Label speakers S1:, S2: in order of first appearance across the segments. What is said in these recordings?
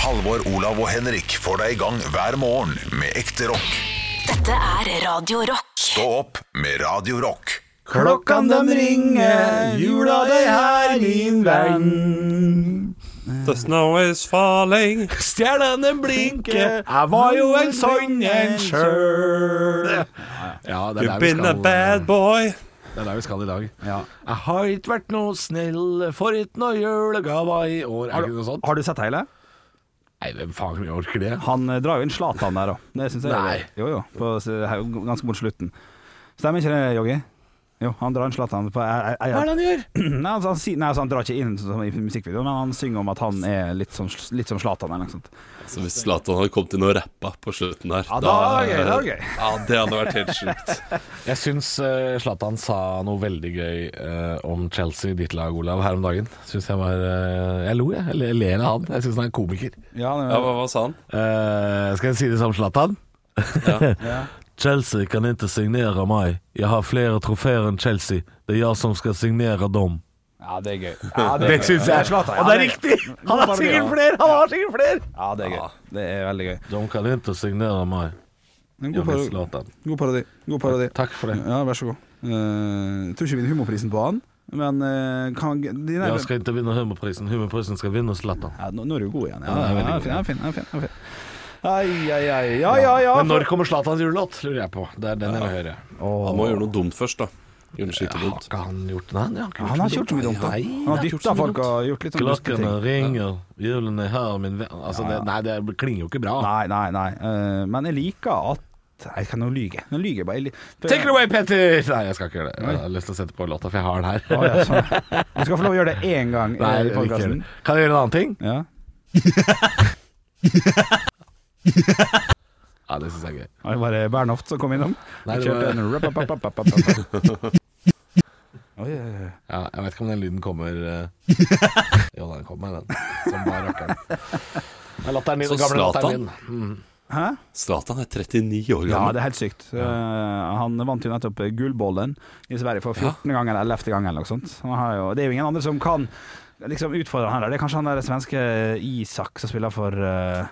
S1: Halvor, Olav og Henrik får deg i gang hver morgen med ekte rock.
S2: Dette er Radio Rock.
S1: Stå opp med Radio Rock.
S3: Klokkan dem ringer, jula deg her, min venn.
S4: The snow is falling.
S3: Stjernene blinker, jeg var jo en sånn en sjøl. Ja, det
S4: You've been a bad boy.
S3: det er der vi skal i dag. Jeg har ikke vært noe snill, får ikke noe julegave i år. Er det ikke noe sånt?
S5: Har du sett hele?
S3: Nei, hvem faen orker det?
S5: Han eh, drar jo inn Zlatan der òg. Det syns jeg
S3: Nei.
S5: Jo, jo. På, s- her- ganske mot slutten. Stemmer ikke det, Joggi? Jo, han drar inn Zlatan på jeg, jeg,
S3: Hva er
S5: jeg,
S3: det han gjør?
S5: Nei, altså, han, sier- nei altså, han drar ikke inn som i musikkvideoen, men han synger om at han er litt som, litt som Zlatan eller noe sånt.
S4: Så hvis Zlatan hadde kommet inn og rappa på slutten der
S5: Ja, da var det gøy, da var det gøy.
S4: Ja, det hadde vært helt sjukt.
S3: Jeg syns eh, Zlatan sa noe veldig gøy eh, om Chelsea, ditt lag, Olav, her om dagen. Synes jeg var eh, Jeg lo, jeg. Jeg le- ler av han. Jeg syns han er en komiker.
S5: Ja, det,
S4: Ja, hva, hva sa han?
S3: Eh, skal jeg si det som Zlatan? Chelsea kan ikke signere meg. Jeg har flere trofeer enn Chelsea. Det er jeg som skal signere dem.
S5: ja, det er gøy. Ja, det er
S3: Det
S5: gøy.
S3: syns jeg.
S5: Zlatan,
S3: Og
S5: ja,
S3: det er riktig! Han har sikkert flere! Han har sikkert flere!
S5: Ja, det er gøy. Det er veldig gøy.
S3: De kan ikke signere meg. Jeg blir Zlatan.
S5: God parodi. God parodi.
S3: Takk for det.
S5: Ja, vær så god. Eh, jeg tror ikke vi vinner humorprisen på han, men eh, kan, de der,
S3: Jeg skal ikke vinne Hummerprisen. Hummerprisen skal vinne Zlatan.
S5: ja, nå, nå er du god igjen. Ja,
S3: Ja,
S5: ja,
S3: jeg er veldig
S5: ja,
S3: god.
S5: fin, ja, fin, ja, fin, ja, fin. Ai, ai, ai. Ja, ja, ja.
S3: Men når kommer Zlatans julelåt, lurer jeg på. Det er den jeg vil høre.
S4: Han må gjøre noe dumt først, da. Gjøre noe skikkelig
S3: Har
S4: dumt.
S3: ikke han gjort det? Nei,
S5: Han har ikke gjort så mye dumt. da.
S3: Nei,
S5: Han har dytta folk og gjort litt sånn duste ting.
S3: Klokkene ringer, julen er her, min venn altså, det, Nei, det klinger jo ikke bra.
S5: Nei, nei, nei. Eh, men jeg liker at Jeg kan jo lyge. Nå lyger jeg bare. Jeg li-
S3: Take it away, Petter! Nei, jeg skal ikke gjøre det. Jeg har lyst til å sette på låta, for jeg har den her.
S5: Å, ja, sånn. Du skal få lov å gjøre det én gang
S3: Nei,
S5: eh, i
S3: jeg vil ikke gjøre
S5: podkasten.
S3: det. Kan jeg gjøre en annen ting?
S5: Ja.
S3: Ja, det syns jeg er gøy.
S5: Det var det Bernhoft som kom innom.
S3: Nei, det
S5: Kjørte
S3: var-
S5: en rapapapapapapa. Oi, oi, oi.
S3: Ja, jeg vet ikke om den lyden kommer eh. Jo, den kommer, den. Som bare rakkeren. Det er latteren din,
S4: Så
S3: den gamle
S4: Zlatan?
S3: latteren din.
S5: Hæ?
S4: Zlatan er 39 år
S5: Ja,
S4: gammel.
S5: det er helt sykt. Eh, han vant jo nettopp gullbollen i Sverige for 14. gang eller 11. gang eller noe sånt. Han har jo, det er jo ingen andre som kan liksom utfordre han heller. Det er kanskje han der svenske Isak som spiller for eh,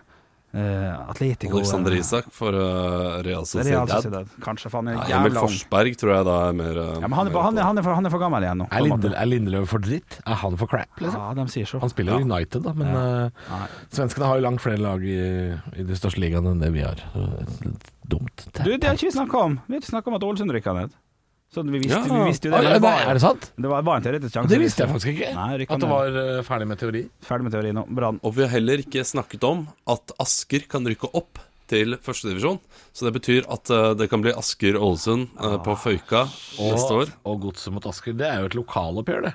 S5: eh, Atletico.
S4: Alexander Isak for eh, Real
S5: Det er Real
S4: Sociedad.
S5: Sociedad. Kanskje, for han er
S4: Nei, Emil
S5: jævla ung.
S4: Forsberg tror jeg da er mer eh,
S5: Ja, men han er,
S4: mer
S5: han,
S4: på-
S5: er, han, er for, han er for gammel igjen nå. på
S3: Er,
S5: en
S3: Lindel,
S5: måte.
S3: er Lindeløv for dritt? Er han for crap, liksom?
S5: Ja, de sier så.
S3: Han spiller jo United, da, men eh,
S5: Nei.
S3: svenskene har jo langt flere lag i, i de største ligaene enn det vi har. Så, eh, Dumt.
S5: Du, det har ikke vi snakka om. Vi har ikke snakka om at Ålesund rykka ned. Så vi visste, vi visste jo det.
S3: Oi,
S5: men det,
S3: nei, er
S5: var,
S3: det sant?
S5: det var bare en teoretisk sjanse.
S3: Det visste jeg faktisk ikke.
S5: Nei, rykka
S3: At det
S5: ned.
S3: var eh, ferdig med teori.
S5: Ferdig med teori nå. Brann.
S4: Og vi har heller ikke snakket om at Asker kan rykke opp til førstedivisjon. Så det betyr at eh, det kan bli Asker Ålesund eh, på Føyka neste år.
S3: og Godset mot Asker. Det er jo et lokaloppgjør, det.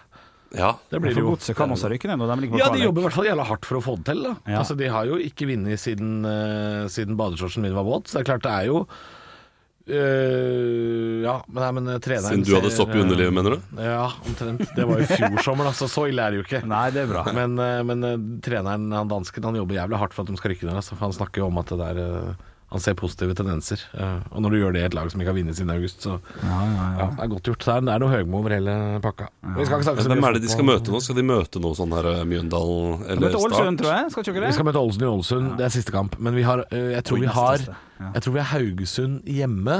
S4: Ja.
S3: Det blir det
S5: For
S3: jo.
S5: Godset kan også rykke ned nå. De ligger på
S3: Ja, de
S5: kvalek.
S3: jobber i hvert fall jævla hardt for å få det til. Da.
S5: Ja.
S3: Altså, de har jo ikke vunnet siden, uh, siden badeshortsen min var våt. Så det er klart det er jo eh, Ja, men, nei, men eh, treneren
S4: Siden du hadde
S3: ser,
S4: sopp i
S3: eh,
S4: underlivet, mener du?
S3: Ja, omtrent. Det var jo i fjor sommer, da, så så ille er det jo ikke.
S5: Nei, det er bra.
S3: Men, eh, men eh, treneren, han dansken, han jobber jævlig hardt for at de skal rykke ned. Altså, for han snakker jo om at det der eh, Han ser positive tendenser. Eh, og når du gjør det i et lag som ikke har vunnet siden august, så
S5: Ja, ja,
S3: ja, det er godt gjort. Så Det er, det er noe Høgmo over hele pakka. Vi skal ikke snakke
S4: Men
S3: så mye
S4: hvem er det de skal
S3: fotball.
S4: møte nå? Skal de møte noe sånn her eh, Mjøndalen
S5: Møtte
S4: eller
S5: Ålesund,
S4: Start?
S5: tror jeg. Skal ikke dere
S3: Vi skal
S5: det?
S3: møte Ålesund i Ålesund. Det er siste kamp. Men vi har, eh, jeg, tror vi har,
S5: neste, ja.
S3: jeg tror vi har Haugesund hjemme,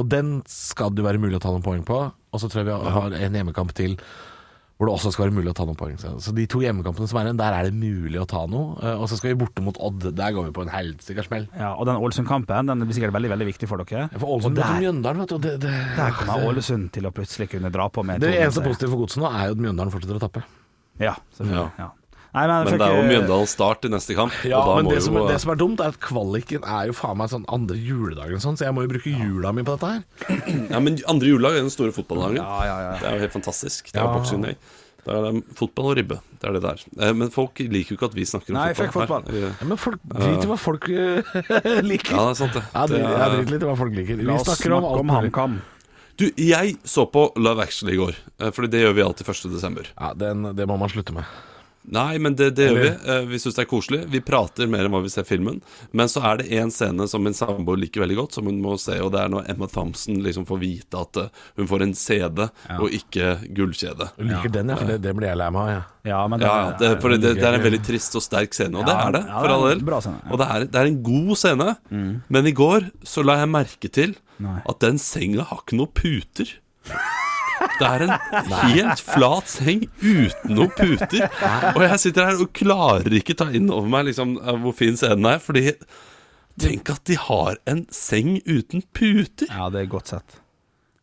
S3: og den skal det jo være mulig å ta noen poeng på. Og så tror jeg vi har, har en hjemmekamp til hvor det også skal være mulig å ta noen poeng. Så så de to hjemmekampene som er igjen, der er det mulig å ta noe. Eh, Og så skal vi borte mot Odd. Der går vi på en helsikker smell.
S5: Ja, og den Ålesund-kampen den blir sikkert veldig veldig viktig for dere.
S3: For Ålesund
S5: Og
S3: møter
S5: der-
S3: Mjøndalen, vet du. og Det, det,
S5: Der kommer Ålesund til å plutselig kunne dra på med
S3: det
S5: to-
S3: eneste positive for godset nå er jo at Mjøndalen fortsetter å tappe.
S5: Ja, selvfølgelig.
S4: Ja.
S5: Ja. Nei, men,
S4: Men
S5: fuck,
S4: det er jo
S5: eh,
S4: Mjøndalen Start i neste kamp,
S3: Ja,
S4: og da
S3: men
S4: må
S3: det, som,
S4: jo eh,
S3: det som er dumt, er at kvaliken er jo faen meg sånn andre juledag eller sånn, så jeg må jo bruke jula mi på dette her.
S4: Ja, men andre julelag er den store fotballdagen.
S5: Ja, ja, ja.
S4: Det er jo helt fantastisk. Det er jo Boxing Day. Da er det fotball og ribbe. Det er det der. Eh, Men folk liker jo ikke at vi snakker om
S5: Nei, fuck
S4: fotball.
S5: fotball.
S4: her.
S3: Ja, men folk driter i hva folk eh, liker.
S4: Ja, det er sant, det.
S3: Ja, det,
S4: Det er-
S3: jeg driter litt i hva folk liker. Vi
S5: La oss
S3: snakker om
S5: snakke
S3: alt
S5: om
S3: mulig.
S5: HamKam.
S4: Du, jeg så på Love Actually i går, eh, Fordi det gjør vi alltid 1. desember.
S3: Ja, den, det må man slutte med.
S4: Nei, men det, det gjør vi. Eh, Vi syns det er koselig. Vi prater mer enn hva vi ser filmen. Men så er det én scene som min samboer liker veldig godt, som hun må se, og det er når Emma Thompson liksom får vite at eh, hun får en CD og ikke gullkjede.
S3: Du liker den, ja? For det, det blir jeg lei meg av. Ja.
S5: Ja, men
S4: Ja, ja, det, for det, det er en veldig trist og sterk scene, og det
S5: Ja,
S4: er det,
S5: ja, det
S4: for
S5: er
S4: all
S5: en
S4: del.
S5: bra scene, ja. Mm.
S4: Og det er, det er en god scene, men i går så la jeg merke til
S5: Nei.
S4: at den senga har ikke noe puter. Det er en helt flat seng uten noen puter. Og jeg sitter her og klarer ikke ta inn over meg liksom, eh, hvor fin scenen er, fordi Tenk at de har en seng uten puter!
S5: Ja, det er godt sett.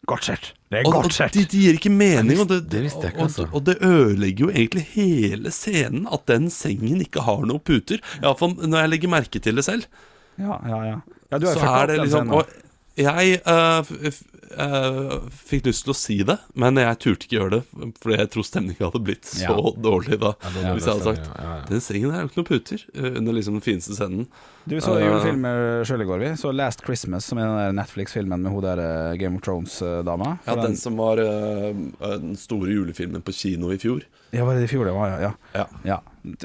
S5: Godt sett. Det
S4: Og, og de, de gir ikke mening, og det,
S3: Det visste jeg ikke,
S4: og-
S3: altså.
S4: og, og det ødelegger jo egentlig hele scenen at den sengen ikke har noen puter. Iallfall når jeg legger merke til det selv.
S5: Ja, ja, ja. ja du har jo
S4: Så
S5: fucka opp
S4: er det
S5: den
S4: liksom
S5: scenen.
S4: Og jeg eh, f- f- eh, fikk lyst til å si det, men jeg turte ikke gjøre det, fordi jeg tror stemningen hadde blitt så
S5: Ja.
S4: dårlig da.
S3: er
S4: hvis jeg hadde
S3: dårlig
S4: sagt
S3: stemning, ja, ja.
S4: Den sengen her har jo ikke noen puter, eh, under liksom den fineste scenen.
S5: Du så
S4: Eh,
S5: julefilm sjøl i går, vi. Så Last Christmas, som er den der Netflix-filmen med hun der eh, Game of Thrones-dama.
S4: Ja, den som var eh, den store julefilmen på kino i fjor.
S5: Ja, var det i fjor det var, ja. ja.
S4: Ja.
S5: ja.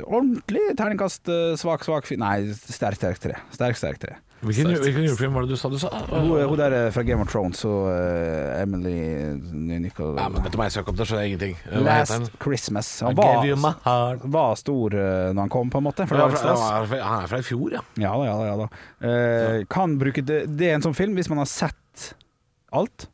S5: Ordentlig terningkast eh, svak, svak fi- Nei, sterk, sterk tre. Sterk, sterk tre.
S3: Hvilken, hvilken julefilm var det du sa? ah, Du sa
S5: Hun, hun der eh, fra Game of Thrones og eh, Emily Nicol...
S3: ja, men Dette må jeg søke opp, det skjønner jeg ingenting. Hva heter den?
S5: Last Christmas. Han
S3: I gave
S5: var,
S3: you my heart.
S5: var stor eh, når han kom, på en måte. For det
S3: Ja,
S5: var litt
S3: fra-
S5: stress.
S3: han er fra- Han er fra i fjor, ja.
S5: Ja da, ja da. Ja da. Eh, kan bruke det, det er en sånn film hvis man har sett alt.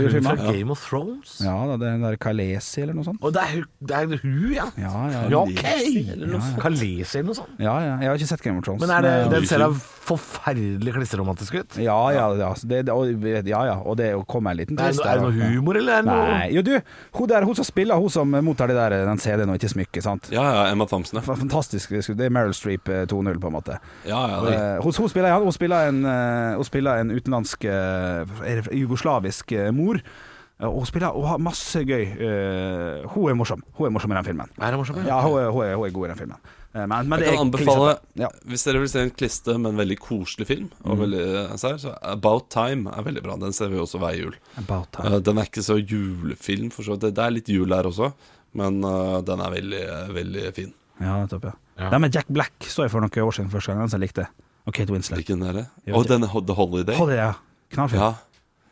S5: av
S3: hun
S5: julefilmer.
S3: fra Game of Thrones?
S5: Ja da, det er den der Kalesi eller noe sånt.
S3: Og det er, hun- det er hun, ja.
S5: Ja ja.
S3: Ja, ok! Kalesi eller noe sånt.
S5: ja ja. Jeg har ikke sett Game of Thrones.
S3: Men er det, den
S4: Lysfilm.
S3: ser da forferdelig klisseromantisk ut. Er
S5: Ja ja, ja. så Det, og, ja, ja. og det kom en liten
S3: det,
S5: twist
S3: noe- er det
S5: der, da.
S3: noe humor, eller er det noe
S5: Nei. Jo, du, hun der, hun som spiller, hun som mottar det der, den CD-en og ikke smykket, sant.
S4: Ja, ja, Emma Thompson, ja.
S5: Fantastisk. Det er Meryl Streep eh, 2.0, på en måte.
S4: ja, ja det,
S5: Eh, hun, hun, spiller, ja, hun, spiller en, eh, hun spiller en utenlandsk eh, er det jugoslavisk eh, mor. Eh, Og hun spiller og har masse gøy. Eh, hun er morsom Hun er morsom i den filmen.
S3: Er det morsomt?
S5: Ja, hun er, hun er, hun er god i den filmen. Eh, men, men det
S4: Jeg kan
S5: er
S4: anbefale,
S5: klissete. ja.
S4: hvis dere vil se en kliste med en veldig koselig film, og veldig, så, her, så About Time er veldig bra. Den ser vi også hver jul.
S5: About time.
S4: Eh, Den er ikke så julefilm, for så vidt. Det- Det er litt jul her også, men eh, den er veldig, eh, veldig fin.
S5: Ja, nettopp, ja.
S3: Ja.
S5: Den med Jack Black så jeg for noen år siden første gang, den som jeg likte. Og Kate Winslet.
S4: Hvilken er det?
S5: Jeg vet
S4: Og den Ho- The Holiday.
S5: Hold det, ja. Knallfin.
S4: Ja,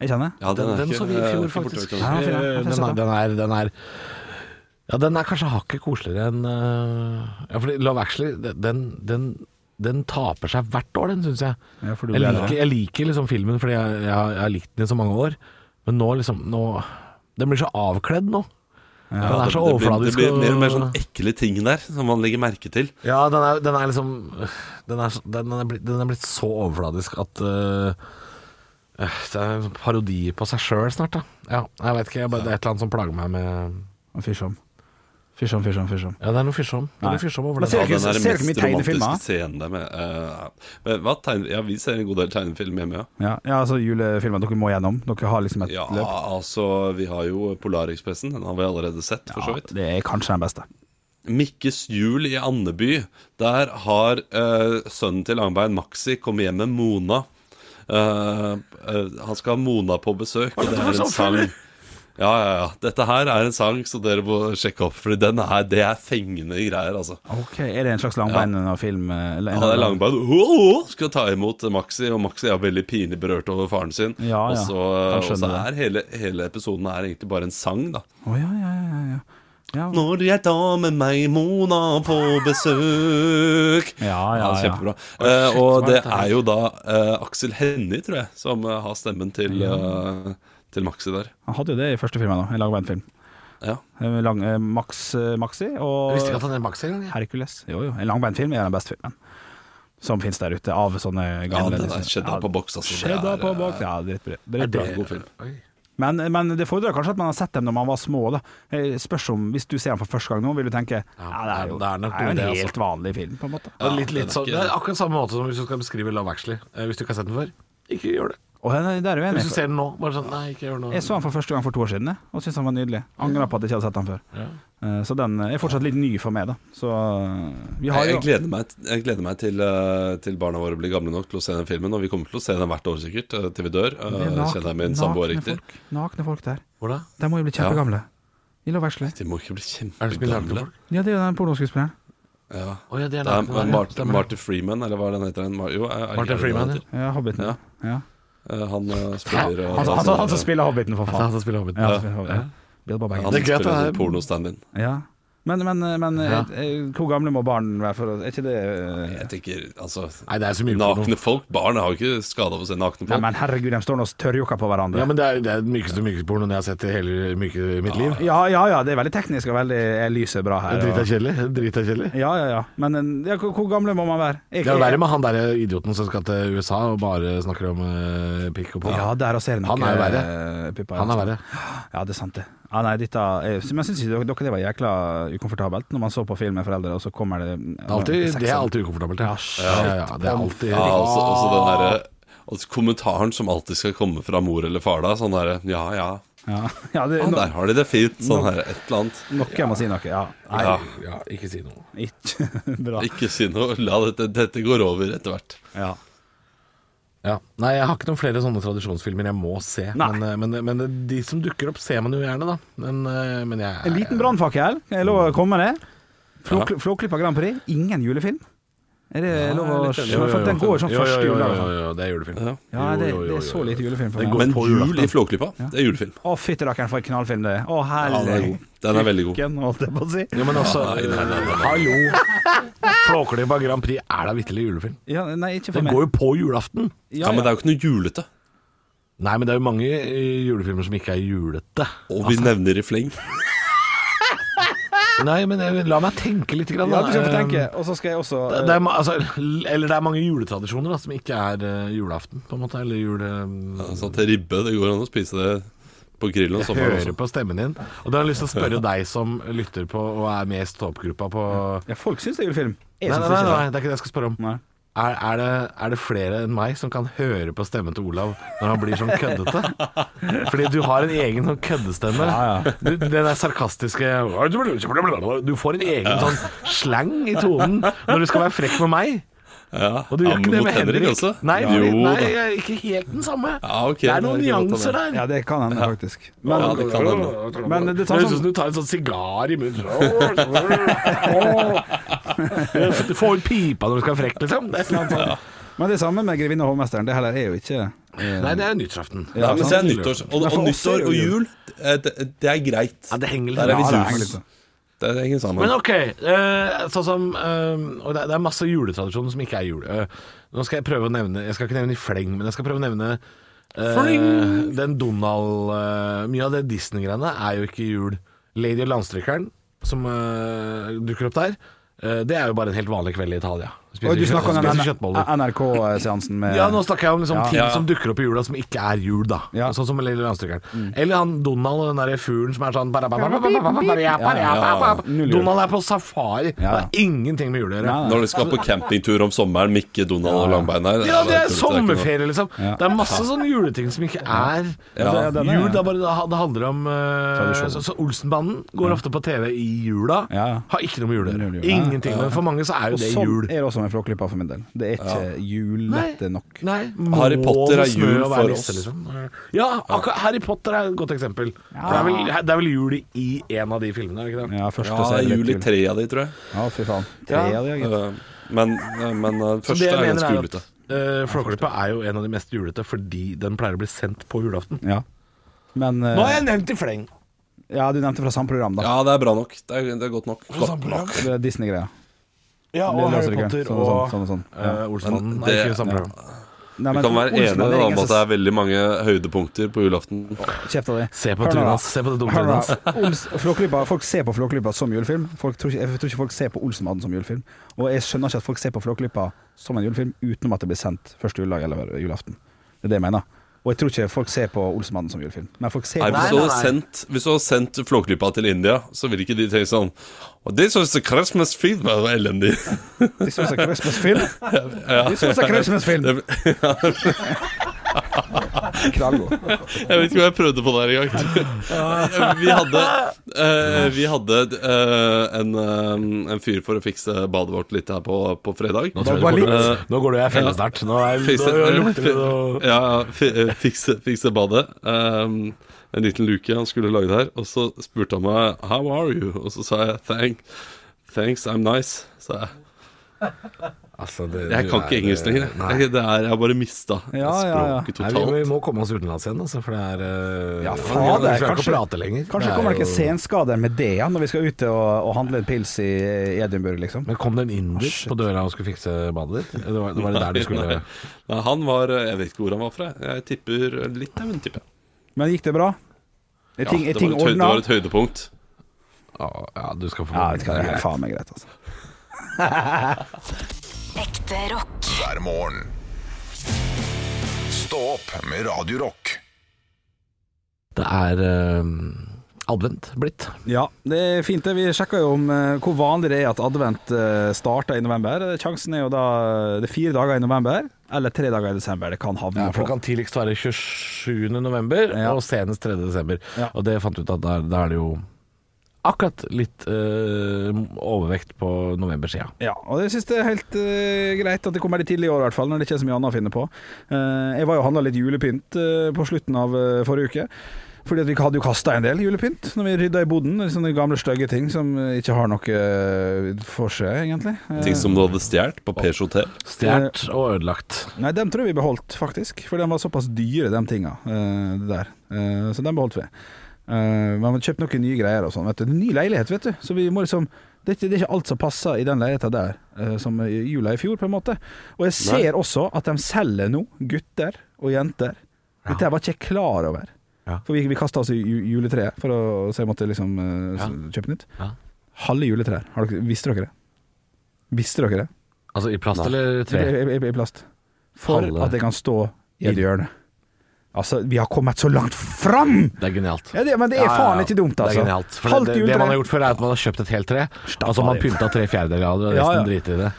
S5: Jeg kjenner.
S4: ja den,
S3: Den,
S4: er
S3: den
S4: ikke,
S3: så vi i
S4: eh,
S3: fjor,
S4: ikke borte
S3: faktisk.
S4: vekk
S5: Ja,
S4: nå.
S5: den er fin, ja.
S3: Eh,
S5: Jeg får
S3: Den
S5: se
S3: er,
S5: den.
S3: den er, den er Ja, den er kanskje hakket koseligere enn eh, Ja, fordi Love Actually, den, den- den, den taper seg hvert år, den, syns jeg.
S5: Ja, for du
S3: Jeg
S5: blir
S3: liker,
S5: eldre.
S3: jeg liker liksom filmen fordi jeg, jeg, har- jeg har likt den i så mange år, men nå liksom nå, Den blir så avkledd nå. Den
S4: Ja,
S3: er så
S4: det- det blir-
S3: overfladisk.
S4: Det blir mer og mer sånn
S3: og-
S4: ekle ting der, som man legger merke til.
S3: Ja, den er, den er liksom den er, så- den, er blitt, den er blitt så overfladisk at øh, øh, Det er en parodi på seg sjøl snart, da. Ja, jeg vet ikke, jeg bare, det er et eller annet som plager meg med
S5: Fyrsom. Fyrsom, fyrsom, fyrsom.
S3: Ja, det er noe fyrsom. Det er
S5: Nei.
S3: noe fyrsom over
S5: Men
S3: det.
S5: ser
S4: Ja,
S5: du ikke-
S4: den er den
S5: ser du ikke
S4: mest
S5: mye tegnefilm, da?
S4: romantiske scenen der med eh, men hva, tegne, Ja, vi ser en god del tegnefilm hjemme, ja.
S5: Ja, ja altså julefilmer dere må gjennom. Dere har liksom et
S4: Ja,
S5: løp.
S4: altså, vi har jo Polarekspressen. Den har vi allerede sett, for så vidt.
S5: det er kanskje den beste.
S4: Mikkes jul i Andeby. Der har eh, sønnen til Langbein, Maxi, kommet hjem med Mona. Eh, eh, han skal ha Mona på besøk, og det er en sang ja, ja, ja. Dette her er en sang, så dere må sjekke opp. For den er, det er fengende greier, altså.
S5: Ok, Er det en slags langbein-film? Ja,
S4: Han er langbein «Åh, åh», skal ta imot Maxi, og Maxi er veldig pinlig berørt over faren sin.
S5: Ja,
S4: og
S5: ja.
S4: så,
S5: Kan
S4: og så
S5: skjønne
S4: er hele, hele episoden er egentlig bare en sang, da.
S5: Å, ja, ja, ja, ja, ja. ja.
S4: Når jeg tar med meg Mona på besøk
S5: Ja, ja, ja.
S4: Kjempebra. Eh, og
S3: så
S4: det
S3: varmt her.
S4: er jo da eh, Aksel Hennie, tror jeg, som eh, har stemmen til, eh, til Maxi der.
S5: Han hadde jo det i første filmen òg, en langbein-film.
S4: Ja.
S5: Eh, Lang, eh, Max, eh, Maxi
S3: Jeg visste ikke
S5: og
S3: at han er Maxi engang. jeg.
S5: Hercules. Jo, jo. En langbein-film er den beste filmen som finnes der ute, av sånne
S4: ja,
S5: gamle
S4: den er cheddar på boks, altså. Det
S5: Cheddar
S4: er,
S5: sånn. på
S4: eh,
S5: boks. Ja, dritbra.
S3: Er
S5: dritbra.
S3: det-
S4: god film.
S3: Oi.
S5: Men, men det fordrer kanskje at man har sett dem når man var små. Da. Eh, Spørs om, Hvis du ser den for første gang nå, vil du tenke ja, det er jo,
S3: det er nok
S5: jo en
S3: noe det,
S5: helt vanlig film, på en måte.
S3: Det er litt, litt
S4: den er
S3: sånn,
S4: ikke-
S3: det er akkurat samme måte som hvis du skal beskrive Love Actually. Eh, Hvis du ikke har sett den før, ikke gjør det.
S5: Og her- der er jeg enig.
S3: Hvis du ser den nå, bare sånn Nei, ikke gjør det nå.
S5: Jeg så den for første gang for to år siden jeg, og syntes den var nydelig. Angrer på at jeg ikke hadde sett den før.
S3: Ja.
S5: Eh, Så den er fortsatt litt ny for meg, da. Så eh, vi har
S4: Jeg,
S5: jo
S4: jeg gleder meg, jeg gleder meg til, eh, til barna våre blir gamle nok til å se den filmen. Og vi kommer til å se den hvert år sikkert, eh, til vi dør. eh,
S5: Det er nak-
S4: kjenner jeg min samboer
S5: nakne
S4: riktig.
S5: folk, nakne folk der.
S3: Hvor da?
S5: De må jo bli kjempegamle. Ille å veksle.
S4: De må ikke bli
S3: Er det som blir laget
S4: kjempegamle.
S3: for folk?
S5: Ja, det er jo den pornoskuespilleren.
S4: Ja.
S3: Å ja, det
S4: Det er
S3: er laget for folk, ja.
S4: Martin,
S3: Stemmer det.
S4: Martin Freeman, eller hva er den heter? han? Mar- Jo, er- er- er
S3: Martin
S4: det
S3: Freeman,
S4: det heter?
S5: Ja, Hobbiten.
S4: Ja.
S5: Ja.
S4: Eh, Han eh, spiller eh,
S5: Han, han, han som spiller Hobbiten, for
S3: Altså,
S5: faen.
S3: han som spiller Hobbiten.
S5: Ja, han spiller Hobbiten. Bill Bob
S4: Han
S5: Baggins.
S3: Det er gøy at
S4: spiller
S3: det er-
S4: sånn pornostand-in.
S5: Ja. Men, men, men
S3: Ja.
S5: eh, eh, hvor gamle må barn være for å Er ikke det eh,
S4: Jeg tenker, altså
S3: Nei, det er så mye porno.
S4: Nakne folk? Barn har jo ikke skade av å se nakne
S5: Nei,
S4: folk.
S5: men herregud, de står nå og tørrjokka på hverandre.
S3: Ja, men det er det er den mykeste mykeste-pornoen jeg har sett i hele myke, mitt liv.
S5: Ja, ja, ja, det er veldig teknisk og veldig er lyset bra her.
S3: Drita
S5: og-
S3: kjedelig. Drita kjedelig.
S5: Ja, ja, ja. Men eh, ja, hvor, hvor gamle må man være? Jeg-
S3: Det er jo verre med han der idioten som skal til USA og bare snakker om eh, pikk og på.
S5: Ja, der også er det nok
S3: Han er jo verre.
S5: eh, pupper,
S3: Han er
S5: altså.
S3: verre.
S5: Ja, det er sant, det. Ja, nei, dette, er- men syns ikke dere- dere det var jækla ukomfortabelt når man så på film med foreldre, og så kommer det
S3: Det er alltid, det er alltid ukomfortabelt. Ja. Ja, ja, ja, det er alltid
S4: Ja, også, også den derre altså, kommentaren som alltid skal komme fra mor eller far da. Sånn derre ja, ja.
S5: Ja, ja det,
S4: Ja,
S5: no,
S4: der har de det fint. Sånn her, et eller annet.
S5: noe jeg må si noe. Ja. Nei,
S4: Ja,
S3: Ja, ikke si noe.
S5: ikke bra.
S4: ikke si noe. La dette, dette går over etter hvert.
S5: Ja.
S3: Ja. Nei, jeg har ikke noen flere sånne tradisjonsfilmer jeg må se.
S5: Nei.
S3: Men, eh, men, men de som dukker opp, ser man jo gjerne, da. Men, eh, men jeg
S5: En liten brannfakkel, er det lov å komme med det? Flåkly- Flåklypa Grand Prix, ingen julefilm. Er det lov å
S3: Jo,
S5: skjønne?
S3: jo,
S5: For
S3: jo.
S5: den går jo sånn
S3: Jo, jo,
S5: første
S3: jo,
S5: jul.
S3: jo,
S5: eller
S3: jo,
S5: sånn.
S3: jo, Det er julefilm.
S4: Ja.
S5: Ja, det,
S3: Jo, jo, jo,
S5: det er så
S3: jo, jo.
S5: lite julefilm for
S3: Den
S5: meg.
S3: går-
S4: Men
S3: På
S4: jul
S3: julaften.
S4: i Flåklypa, det er julefilm.
S5: Å, fytti rakkeren, for en knallfilm det er. Å,
S4: Ja, den er
S5: herlig.
S4: god. Den er veldig god.
S5: Ken, holdt jeg på å si.
S3: Jo, men altså Hallo! Flåklypa Grand Prix er da vitterlig julefilm.
S5: Ja, nei, ikke for
S3: Den
S5: meg.
S3: går jo på julaften.
S4: Ja, men det er jo ikke noe julete.
S3: Nei, men det er jo mange eh, julefilmer som ikke er julete.
S4: Og
S3: Altså-
S4: vi nevner i fleng.
S3: Nei, men jeg, la meg tenke litt. Grann,
S5: Ja,
S3: da.
S5: du skal få tenke. Og så skal jeg også
S3: Um,
S5: eh,
S3: Det, det er, ma- altså, l- eller det er mange juletradisjoner da, som ikke er eh, julaften, på en måte. Eller jule...
S4: Altså, til ribbe. Det går an å spise det på grillen om
S3: Jeg
S4: sommeren
S3: hører
S4: også.
S3: på stemmen din. Og da har jeg lyst til å spørre deg som lytter på og er med i stå-opp-gruppa på
S5: Ja, folk syns det er julefilm. Jeg
S3: Nei, nei,
S5: syns
S3: nei,
S5: ikke
S3: nei,
S5: det.
S3: det er ikke det jeg skal spørre om.
S5: Nei.
S3: Er, er, det, er det flere enn meg som kan høre på stemmen til Olav når han blir sånn køddete? Fordi du har en egen sånn køddestemme.
S5: Ja, ja.
S3: Du, den der sarkastiske Du får en egen sånn slang i tonen når du skal være frekk med meg.
S4: Ja,
S3: Og du gjør
S4: ja,
S3: ikke det
S4: mot
S3: med Henrik,
S4: også?
S3: Nei, fordi,
S4: jo,
S3: nei,
S4: da.
S3: jeg er ikke helt den samme.
S4: Ja, ok,
S3: det er noen
S4: det er godt å
S3: nyanser der.
S5: Ja, det kan hende, faktisk.
S4: Ja,
S5: Men,
S4: det kan hende.
S5: men det
S3: det
S5: er sånn
S3: høres ut som
S5: som
S3: du tar en sånn sigar i munnen. Åh. Du får ut pipa når du skal være frekk, liksom. Det er et eller annet sånt.
S5: Men det er samme med 'Grevinne og hovmesteren'. Det heller er jo ikke
S3: Nei, det er nyttårsaften.
S4: Nei, men se,
S5: sant.
S4: nyttårs, og,
S5: Men for
S4: og
S5: oss er
S4: nyttår
S5: det
S4: og
S5: jo
S4: jul, eh, det, det er greit.
S3: Ja, det henger
S4: Der er
S5: Ja, det
S4: vi
S3: litt rart.
S4: sus.
S5: henger litt sånn.
S4: Det henger sammen.
S3: Men ok, eh, sånn som eh, Og det er- det er masse juletradisjoner som ikke er jul. Eh, nå skal jeg prøve å nevne Jeg skal ikke nevne i fleng, men jeg skal prøve å nevne eh, den Donald eh, Mye av det Disney-greiene er jo ikke jul. Lady og Landstrykeren, som eh, dukker opp der, eh, det er jo bare en helt vanlig kveld i Italia. Spiser
S5: Oi, Du
S3: kjø-
S5: snakker om
S3: spiser
S5: den Ah,
S3: kjøttboller.
S5: NRK-seansen med
S3: Ja, nå snakker jeg om liksom,
S5: Ja.
S3: ting
S4: Ja.
S3: som dukker opp i jula som ikke er jul, da.
S5: Ja. Mm.
S3: Sånn som Lille Landstrykeren. Eller han Donald og den derre fuglen som er sånn
S5: ja. Null jul.
S3: Donald er på safari. Det
S5: Ja.
S3: har ingenting med jul å gjøre.
S5: Nei, nei.
S4: Når du skal på campingtur om sommeren, Mikke, Donald og Langbein her
S3: Altså, Ja, det er
S4: tullete, ikke noe.
S3: sommerferie, liksom.
S5: Ja.
S3: Det er masse sånne juleting som ikke er
S5: Ja, den er-
S3: jul. Det, er bare, det handler om eh,
S5: Tradisjon.
S3: Så, så Olsenbanden går ofte på TV i jula.
S5: Ja, ja.
S3: Har ikke noe med jul å
S5: Null jul,
S3: gjøre.
S5: ja.
S3: Ingenting. Men for mange så er
S5: Og
S3: jo det
S5: sånn
S3: jul.
S5: er det også med Flåklypa for min del. Det er ikke julete nok.
S3: Nei,
S4: Harry Potter er jul
S3: snø og være
S4: for
S3: nisse,
S4: oss.
S3: liksom. Ja, akkurat Harry Potter er et godt eksempel. For det, er vel, det er vel jul i en av de filmene, er det ikke det?
S5: Ja, første
S4: Ja, det
S5: så
S4: er
S5: litt
S4: jul i tre av de, tror jeg.
S5: Ja, fy faen. Tre
S3: Ja.
S5: av de, gitt.
S4: Eh, Men, eh, men eh, den
S3: Så det
S4: første
S3: jeg
S4: er
S3: mener
S4: ganske
S3: er at,
S4: julete.
S3: eh, Flåklypa er jo en av de mest julete fordi den pleier å bli sendt på julaften.
S5: Ja. Men eh,
S3: Nå har jeg nevnt i fleng.
S5: Ja, du nevnte fra samme program, da.
S4: Ja, det er bra nok. Det er, det er godt nok.
S3: For eksempel, ja.
S5: Det er Disney-greia.
S3: Ja, og
S5: Lille
S3: Harry
S5: Lasergreia.
S3: Potter
S5: Sånn og sånn,
S3: og
S5: sånn og sånn.
S3: eh, Olsenbanden
S4: Men
S3: er
S4: det-
S3: ikke i samme program.
S5: Nei,
S4: Vi
S5: men
S4: kan være
S5: Olsen,
S4: enige
S5: den
S4: om
S5: egen
S4: at det er veldig mange høydepunkter på julaften.
S5: ses- Kjeft av de.
S3: Se på
S5: Hør nå,
S3: turen
S5: da.
S3: hans. Se på det dumme
S5: Hør
S3: turen
S5: nå,
S3: hans.
S5: Ols- Flåklypa- Folk ser på Flåklypa som julefilm. Folk tror ikke, jeg tror ikke folk ser på Olsenmannen som julefilm. Og jeg skjønner ikke at folk ser på Flåklypa som en julefilm utenom at det blir sendt første juledag eller julaften. Det er det jeg mener. Og jeg tror ikke folk ser på Olsenmannen som julefilm. Men folk ser
S4: Nei,
S5: på
S4: hvis, du
S3: nei,
S4: hadde
S3: nei.
S4: sendt, hvis du hadde sendt Flåklypa til India, så ville ikke de tenkt sånn Og det synes jeg Christmas film var elendig.
S5: This was a Christmas film. This was a Christmas film.
S4: Det-
S5: Knallgod.
S4: Jeg vet ikke om jeg prøvde på det her engang. Vi hadde, eh, vi hadde eh, en, eh, en fyr for å fikse badet vårt litt her på, på fredag.
S3: Nå, tror jeg
S5: var
S3: det går,
S4: litt-
S3: nå går det jo jeg felle snart. Nå, er,
S4: Fikse,
S3: nå lukter det
S4: fi-
S3: noe
S4: ja, fi- eh, fikse, fikse badet. Ehm, en liten luke han skulle lage der. Og så spurte han meg 'How are you?' Og så sa jeg Thank, 'Thanks, I'm nice'. sa jeg.
S3: altså, det,
S4: Jeg
S3: du
S4: kan
S3: er-
S4: ikke engelsk lenger.
S3: Nei.
S4: Jeg, det er, jeg har bare mista
S5: Ja, ja, ja.
S4: språket
S3: Nei, vi, vi
S4: totalt.
S3: må komme oss utenlands igjen, altså, for det er eh,
S5: Ja,
S3: vi
S5: fader,
S3: klarer ikke
S5: kanskje-
S3: å prate lenger.
S5: Kanskje
S3: er
S5: kommer det ikke
S3: jo-
S5: senskader med det ja, når vi skal ut og, og handle en pils i i Edinburgh, liksom.
S3: Men kom det en inder på døra og skulle fikse badet ditt? Det var, det, var det der du skulle
S4: Nei, nei, han var eh, Jeg vet ikke hvor han var fra. Jeg tipper Litauen, tipper jeg.
S5: Men gikk det bra? Er
S4: Ja,
S5: ting,
S4: det,
S5: er
S4: var
S5: ting
S4: et høy, det
S5: ordna?
S4: var et høydepunkt.
S3: Ja, ja, du skal få
S5: Ja, vet du hva, det er faen meg greit, altså.
S2: Ekte rock.
S1: hver morgen. Stå opp med Radio Rock.
S3: Det er eh, advent blitt.
S5: Ja, det er fint det. Vi sjekka jo om eh, hvor vanlig det er at advent eh, starter i november. Eh, Sjansen er jo da eh, det er fire dager i november, eller tre dager i desember det kan havne
S3: Ja, for det
S5: på.
S3: kan tidligst være 27. november
S5: Ja.
S3: og senest 3. desember.
S5: Ja.
S3: Og det fant vi ut at da, da er det jo akkurat litt eh, overvekt på novembersida.
S5: Ja, og jeg synes det er helt eh, greit at det kommer litt tidlig i år, i hvert fall, når det ikke er så mye annet å finne på. Eh, jeg var jo og handla litt julepynt eh, på slutten av eh, forrige uke. Fordi at vi hadde jo kasta en del julepynt når vi rydda i boden. Sånne gamle, stygge ting som eh, ikke har noe eh, for seg, egentlig. Eh,
S4: Ting som du hadde stjålet på Pers hotell.
S3: Stjålet og ødelagt.
S5: Nei, dem tror jeg vi beholdt, faktisk. For de var såpass dyre, de tinga. eh, det der. Eh, så dem beholdt vi. Eh, men vi kjøpte noen nye greier og sånn. vet du. Ny leilighet, vet du. Så vi må liksom det, er ikke- det er ikke alt som passer i den leiligheta der, eh, som i jula i fjor, på en måte. Og jeg ser også at de selger nå, gutter og jenter. Dette her var ikke jeg klar over.
S3: Ja.
S5: For vi, vi kasta oss i ju- juletreet, for å, så jeg måtte liksom eh,
S3: Ja.
S5: s- kjøpe nytt.
S3: Ja.
S5: Halve juletrær. Har dere, visste dere det? Visste dere det?
S3: Altså i plast eller
S5: I,
S3: tre?
S5: i, i, i plast. For
S3: Halve.
S5: at det kan stå i et hjørne. Altså, vi har kommet så langt fram!
S3: Det er genialt.
S5: Ja, det, men det er
S3: Ja, ja, ja.
S5: faen ikke dumt, altså.
S3: Det er genialt. For
S5: Halvt
S3: det, det, det man
S5: juletre.
S3: har gjort før, er at man har kjøpt et helt tre.
S5: Stapp
S3: altså man
S5: av det.
S3: pynta tre fjerdedeler av det, og
S5: Ja,
S3: resten
S5: ja.
S3: driter i det.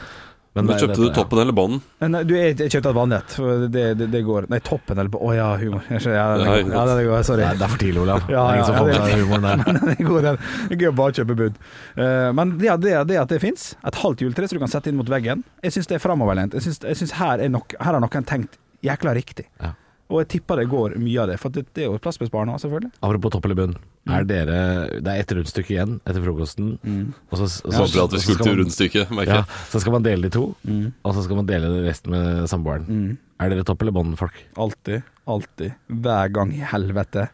S4: Men
S3: det-
S4: kjøpte
S3: dette-
S4: du toppen eller bånden?
S5: Nei, du, jeg, jeg kjøpte et vanlig et. for Det, det, det går Nei, toppen eller på Å ja, humor. Jeg skjønner, ja, det,
S4: Ja,
S5: går. ja, det går. Sorry.
S3: Nei, det er for tidlig, Olav.
S5: Ja,
S3: det er
S5: ja,
S3: ingen som
S5: ja,
S3: får
S5: det
S3: med
S5: er-
S3: seg humoren der.
S5: Men det er god, den. Det er gøy å bare kjøpe bud. Eh, men det, det, det at det fins, et halvt juletre som du kan sette inn mot veggen, jeg syns det er framoverlent. Jeg synes- Jeg syns her, er nok- her har noen tenkt jækla riktig.
S3: Ja.
S5: Og jeg tipper det går mye av det, for det, det er jo plassbesparende, selvfølgelig.
S3: Apropos topp eller bunn. Er dere, det er ett rundstykke igjen etter frokosten.
S5: Mm.
S3: Og så, så,
S4: Håper at
S3: og
S4: vi skulle
S3: så skal
S4: til
S3: man-
S4: rundstykket, merker
S3: Ja,
S4: jeg.
S3: så skal man dele de to,
S5: Mm.
S3: og så skal man dele resten med samboeren. Er dere topp eller bånd, folk?
S5: Alltid, alltid, hver gang i helvete.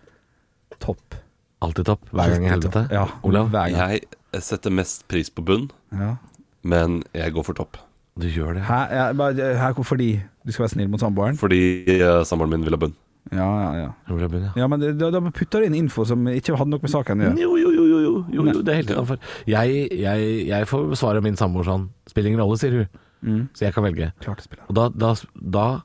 S5: Topp.
S3: Alltid topp, hver gang i
S5: Alltid
S3: helvete.
S5: topp. Ja,
S3: Olav,
S5: hver gang.
S4: Jeg setter mest pris på bunn,
S5: Ja.
S4: men jeg går for topp.
S3: du gjør det.
S5: Hæ, ja, bare- hæ, hvor- fordi du skal være snill mot samboeren?
S4: Fordi eh, samboeren min vil ha bunn.
S5: Ja, ja, ja.
S3: Olav Bunn, ja.
S5: ja men det- da, da putter du inn info som ikke hadde noe med saken å gjøre.
S3: Jo, jo, jo, jo, jo, jo, jo det er helt innafor. Jeg, jeg, jeg får besvare min samboer sånn. Spiller ingen rolle, sier hun.
S5: Mm.
S3: Så jeg kan velge.
S5: Klart det spiller.
S3: Og da, da, da,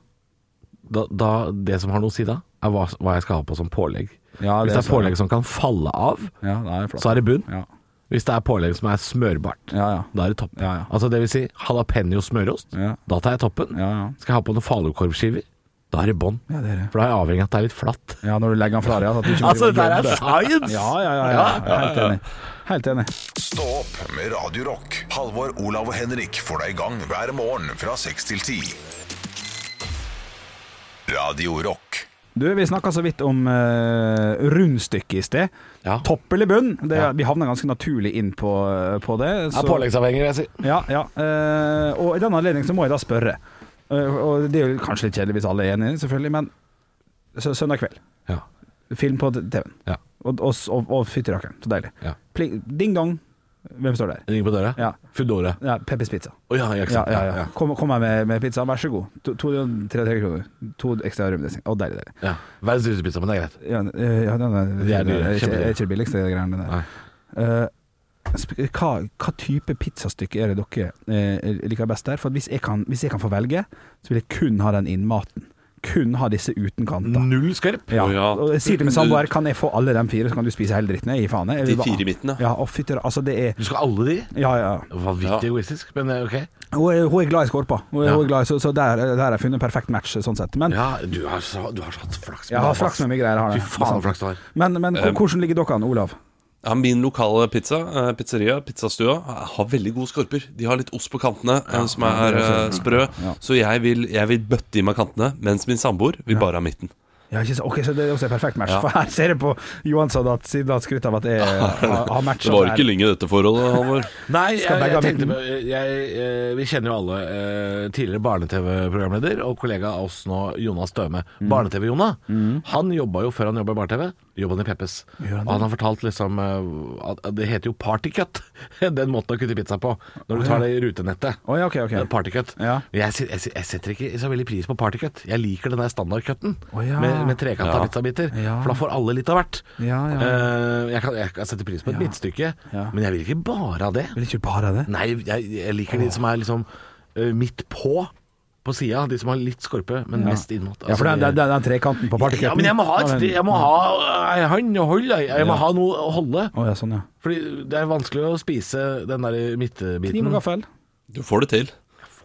S3: da, da Det som har noe å si da, er hva, hva jeg skal ha på som pålegg.
S5: Ja,
S3: Hvis det er
S5: så-
S3: pålegg som kan falle av,
S5: Ja, det er flott.
S3: så er det bunn.
S5: Ja,
S3: Hvis det er pålegg som er smørbart,
S5: ja. ja.
S3: da er det topp.
S5: Ja, ja.
S3: Altså det vil si jalapeño smørost,
S5: Ja.
S3: da tar jeg toppen.
S5: Ja, ja.
S3: Skal jeg ha på noen falukorvskiver, da er det bånn.
S5: Ja, det er det.
S3: For da er jeg avhengig av at det er litt flatt.
S5: ja, når du legger den fra deg. at du ikke må
S3: Altså,
S5: drive og
S3: dette
S5: jobbe.
S3: er science!
S5: ja, ja, ja, ja. Helt enig. Helt enig.
S1: Stå opp med Radio Rock. Halvor, Olav og Henrik får deg i gang hver morgen fra 6 til 10. Radio Rock.
S5: Du, vi snakka så vidt om eh, rundstykket i sted.
S3: Ja.
S5: Topp eller bunn? Det,
S3: Ja.
S5: Vi havna ganske naturlig inn på, eh, på det.
S3: Jeg er påleggsavhengig, vil jeg si.
S5: Ja, ja. eh, og i den anledning så må jeg da spørre. Eh, og det er jo kanskje litt kjedelig hvis alle er enige, selvfølgelig, men sø søndag kveld.
S3: Ja.
S5: Film på TV-en.
S3: Ja.
S5: Og, og, og, og fytti rakkeren, så deilig.
S3: Ja.
S5: Pling, ding dong, hvem står der?
S3: Ring på døra.
S5: Ja.
S3: Foodora.
S5: Ja, Peppers pizza.
S3: Å ja, ja, ikke
S5: Ja,
S3: sant.
S5: ja, ja. Kom, kom her med, med pizza, vær så god. To- to- 33 kroner. To ekstra rømmedressing. Å, deilig, deilig.
S3: ja. Verdens dyreste pizza, men det er greit.
S5: Ja, eh, ja, den er,
S3: Det er
S5: det
S3: dyre,
S5: er ikke,
S3: kjempedyre.
S5: er ikke det billigste greiene der.
S3: Nei.
S5: Eh, sp- hva, hva type pizzastykke er det dere eh, liker best der? For at hvis jeg, kan, hvis jeg kan få velge, så vil jeg kun ha den innmaten. kun ha disse uten kanter.
S3: Null skarp.
S5: Ja.
S4: Å, ja.
S5: Og jeg sier til min samboer kan jeg få alle de fire, så kan du spise hele dritten. Jeg gir faen. jeg. Jeg vil
S4: De
S5: bare-
S4: fire i midten, ja.
S5: ja. å, fytti ra- altså, det er
S3: Du skal ha alle de?
S5: Ja, ja.
S3: Vanvittig
S4: Ja.
S3: egoistisk, men eh, ok.
S5: Hun er, hun er glad i skorpa, hun er,
S3: Ja.
S5: hun er glad i, så, så der, der har jeg funnet en perfekt match, sånn sett. Men
S3: Ja, du har, så, du har så hatt flaks.
S5: jeg har
S3: det,
S5: flaks
S3: ass.
S5: med mye greier. Har jeg.
S3: Fy faen, så flaks du har. Eh,
S5: Men, men hvor- hvordan ligger dere an, Olav?
S4: Ja, min lokale pizza, eh, pizzeria, pizzastua, har veldig gode skorper. De har litt ost på kantene eh, som er eh, sprø. Så jeg vil, jeg vil bøtte i meg kantene, mens min samboer vil bare ha midten.
S5: Ja, ikke, så- ok, så det er også en perfekt match.
S4: Ja.
S5: For her ser jeg på Johansson at siden han skryter av at jeg har, har matcha
S4: Det var ikke lenge dette forholdet, Halvor.
S3: Nei,
S5: Skal
S3: jeg,
S5: begge
S3: jeg
S5: ha
S3: tenkte
S5: midten?
S3: på- jeg, eh, Vi kjenner jo alle eh, tidligere barne-TV-programleder og kollega av oss nå, Jonas Døme.
S5: Mm.
S3: Barne-TV-Jona. Han jobba jo før han jobba i barne-TV. Jobba han i Peppes.
S5: Gjør han
S3: og han har fortalt liksom eh, at at det heter jo partycut. Den måten å kutte pizza på når du tar det i rutenettet.
S5: Å, ja, ok, ok.
S3: Eh, Partycut.
S5: Ja.
S3: Jeg, sy- jeg, sy- jeg setter ikke så veldig pris på partycut. Jeg liker den der standardcutten
S5: Å, ja.
S3: med, med trekanta
S4: Ja.
S3: pizzabiter.
S5: Ja.
S3: For da får alle litt av hvert.
S5: Ja, ja.
S3: Eh, jeg, kan, jeg kan sette pris på et
S5: Ja.
S3: midtstykke,
S5: Ja.
S3: men jeg vil ikke bare ha det.
S5: Vil ikke bare det?
S3: Nei, jeg, jeg liker de som er liksom eh, midt på, på sida. De som har litt skorpe, men mest innmat.
S5: Ja, for den,
S3: Altså,
S5: den, den, den trekanten på partycutten
S3: ja, men jeg må ha et sted, jeg må ha eh, ei hand å holde i. Jeg må ha noe å holde.
S5: Å ja, sånn, ja.
S3: Fordi det er vanskelig å spise den der
S5: Kniv
S3: midtbiten.
S5: og gaffel.
S4: Du får det til.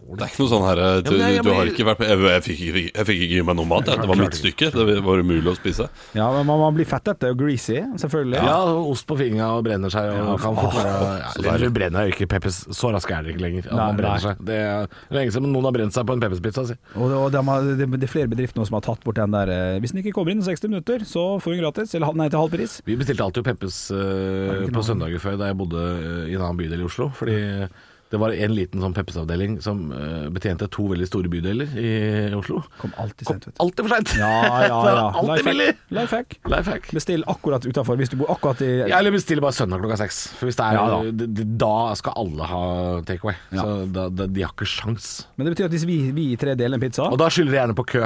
S4: Det er ikke noe sånn her eh, Du,
S3: men jeg-
S4: du
S3: jeg-
S4: har ikke vært på Jeg, jeg, fikk, ikke- jeg fikk ikke gi meg noe mat. jeg. Det var mitt stykke. Det var umulig å spise.
S5: Ja, men man, man blir fettete og greasy, selvfølgelig.
S3: Ja, og ost på fingra og brenner seg. Og kan fort være ja,
S4: så
S3: eller
S4: deilig.
S3: du brenner jo ikke Peppers. Så rask er dere ikke lenger. At
S5: Nei,
S3: man
S5: nei.
S3: brenner seg. Det er lenge siden noen har brent seg på en Peppers-pizza. Si.
S5: Og, det- og de har, det, det er flere bedrifter nå som har tatt bort den der eh, Hvis den ikke kommer inn i 60 minutter, så får hun gratis. Eller halv- nei, til halv pris.
S3: Vi bestilte alltid Peppes eh, på søndager før da jeg bodde eh, i en annen bydel i Oslo. Fordi det var en liten sånn Peppes-avdeling som eh, betjente to veldig store bydeler i Oslo.
S5: Kom alltid sent, vet du.
S3: Alltid for seint!
S5: Ja, ja, ja.
S3: alltid billig!
S5: Life hack.
S3: Life hack.
S5: Bestill akkurat utafor, hvis du bor akkurat i
S3: Ja, eller bestiller bare søndag klokka seks. For hvis det er,
S5: Ja, da.
S3: d- d- da skal alle ha takeaway.
S5: Ja.
S3: Så da, da, de har ikke sjans.
S5: Men det betyr at hvis vi, vi tre deler en pizza
S3: Og da skylder jeg gjerne på kø.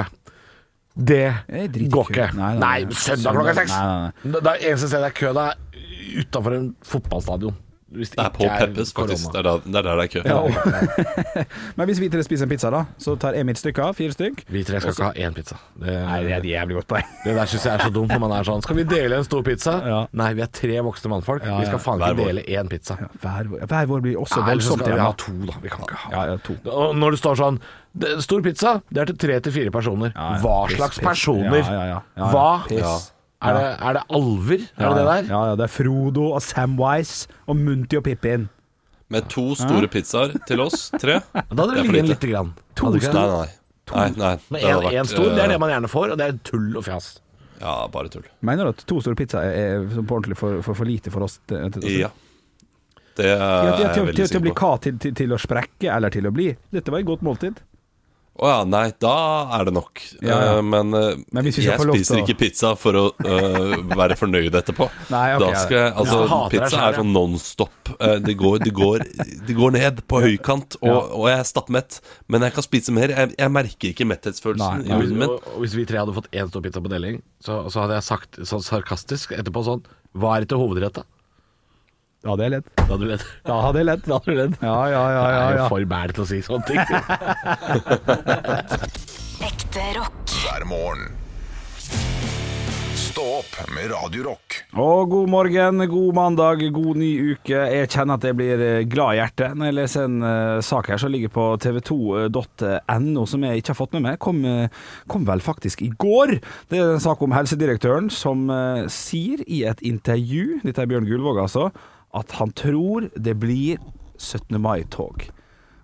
S3: Det
S5: Jeg driter i
S3: går
S5: kø.
S3: ikke.
S5: Nei,
S3: Nei,
S5: nei, nei.
S3: søndag klokka seks!
S5: Nei, nei,
S3: Det det er eneste stedet det er kø, det er utafor en fotballstadion. Hvis
S4: Det er på
S3: ikke
S4: Peppes, faktisk.
S3: korona.
S4: Det er, da, det er der det er kø.
S5: Ja, og- Men hvis vi tre spiser en pizza, da, så tar jeg mitt stykke av, fire stykk.
S3: Vi tre skal ikke ha én pizza. Det,
S5: et jævlig godt poeng.
S3: det der syns jeg er så dumt når man er sånn. Skal vi dele en stor pizza?
S5: Ja.
S3: Nei, vi er tre voksne mannfolk.
S5: Ja,
S3: Vi
S5: ja.
S3: skal faen
S4: Hver
S3: ikke
S4: vår.
S3: dele én pizza. Ja,
S5: Hver, vår- hver vår blir også
S3: Eller så
S5: voldsomt
S3: skal vi ha
S5: hjemme.
S3: to, da. Vi kan ikke ha
S5: Ja, ja, to.
S3: Og når det står sånn "Det- Stor pizza, det er til tre til fire personer.
S5: Ja, ja.
S3: Hva
S5: Piss,
S3: slags
S5: piss.
S3: personer?
S5: Ja, ja, ja. Ja, ja.
S3: Hva?
S5: Piss.
S4: Ja.
S3: Er, det, er det alver? Er det det der?
S5: Ja, ja, det er Frodo og Samwise og Munti og Pippin.
S4: Med to store pizzaer til oss, tre.
S3: Da hadde
S4: Det
S3: det
S4: er for
S3: ligget igjen
S4: lite.
S3: lite grann.
S5: To
S3: Hadde ikke det?
S4: Nei, nei. nei, nei.
S3: Men
S4: Det hadde
S3: en,
S4: vært,
S3: en stor, det er
S4: eh,
S3: det man gjerne får, og det er tull og fjas.
S4: Ja, bare tull.
S5: Mener du at to store pizzaer er, er sånn på ordentlig for, for, for lite for oss? til- til- til-
S4: Ja. Det
S5: Ja,
S4: er
S5: til,
S4: jeg
S5: til, til,
S4: veldig
S5: til å bli
S4: sikker på.
S5: hva? Til, til, til å sprekke eller til å bli? Dette var et godt måltid.
S4: Å ja, nei, da er det nok.
S5: Ja, ja.
S4: Eh, Men, eh,
S5: Men hvis vi skal
S4: jeg
S5: få lov til å-
S4: spiser ikke pizza for å eh, være fornøyd etterpå.
S5: Nei, ok.
S4: Da skal jeg, altså,
S3: Ja, hater deg
S4: pizza
S3: selv,
S4: er sånn nonstop. Eh, Det går, det, går, det går ned på høykant, og, og jeg er stappmett. Men jeg kan spise mer. Jeg, jeg merker ikke
S5: Nei, nei.
S4: metthetsfølelsen i munnen min.
S3: og, og hvis vi tre hadde fått én stor pizza på deling, så, så hadde jeg sagt sånn sarkastisk etterpå sånn Hva er det til hovedrett, da?
S5: Da hadde jeg ledd.
S3: Da hadde du ledd.
S5: Da hadde jeg ledd.
S3: Da hadde du ledd.
S5: Ja, ja, ja.
S3: Jeg
S5: ja,
S3: er jo
S5: ja.
S3: for bæl til å si sånne ting.
S2: Ekte rock.
S1: hver morgen. Stå opp med Radio Rock.
S5: Og god morgen, god mandag, god ny uke. Jeg kjenner at jeg blir eh, glad i hjertet når jeg leser en eh, sak her som ligger på tv2.no, som jeg ikke har fått med meg. Kom, eh, kom vel faktisk i går. Det er en sak om helsedirektøren som eh, sier i et intervju, dette er Bjørn Gullvåg altså, at han tror det blir 17. mai-tog.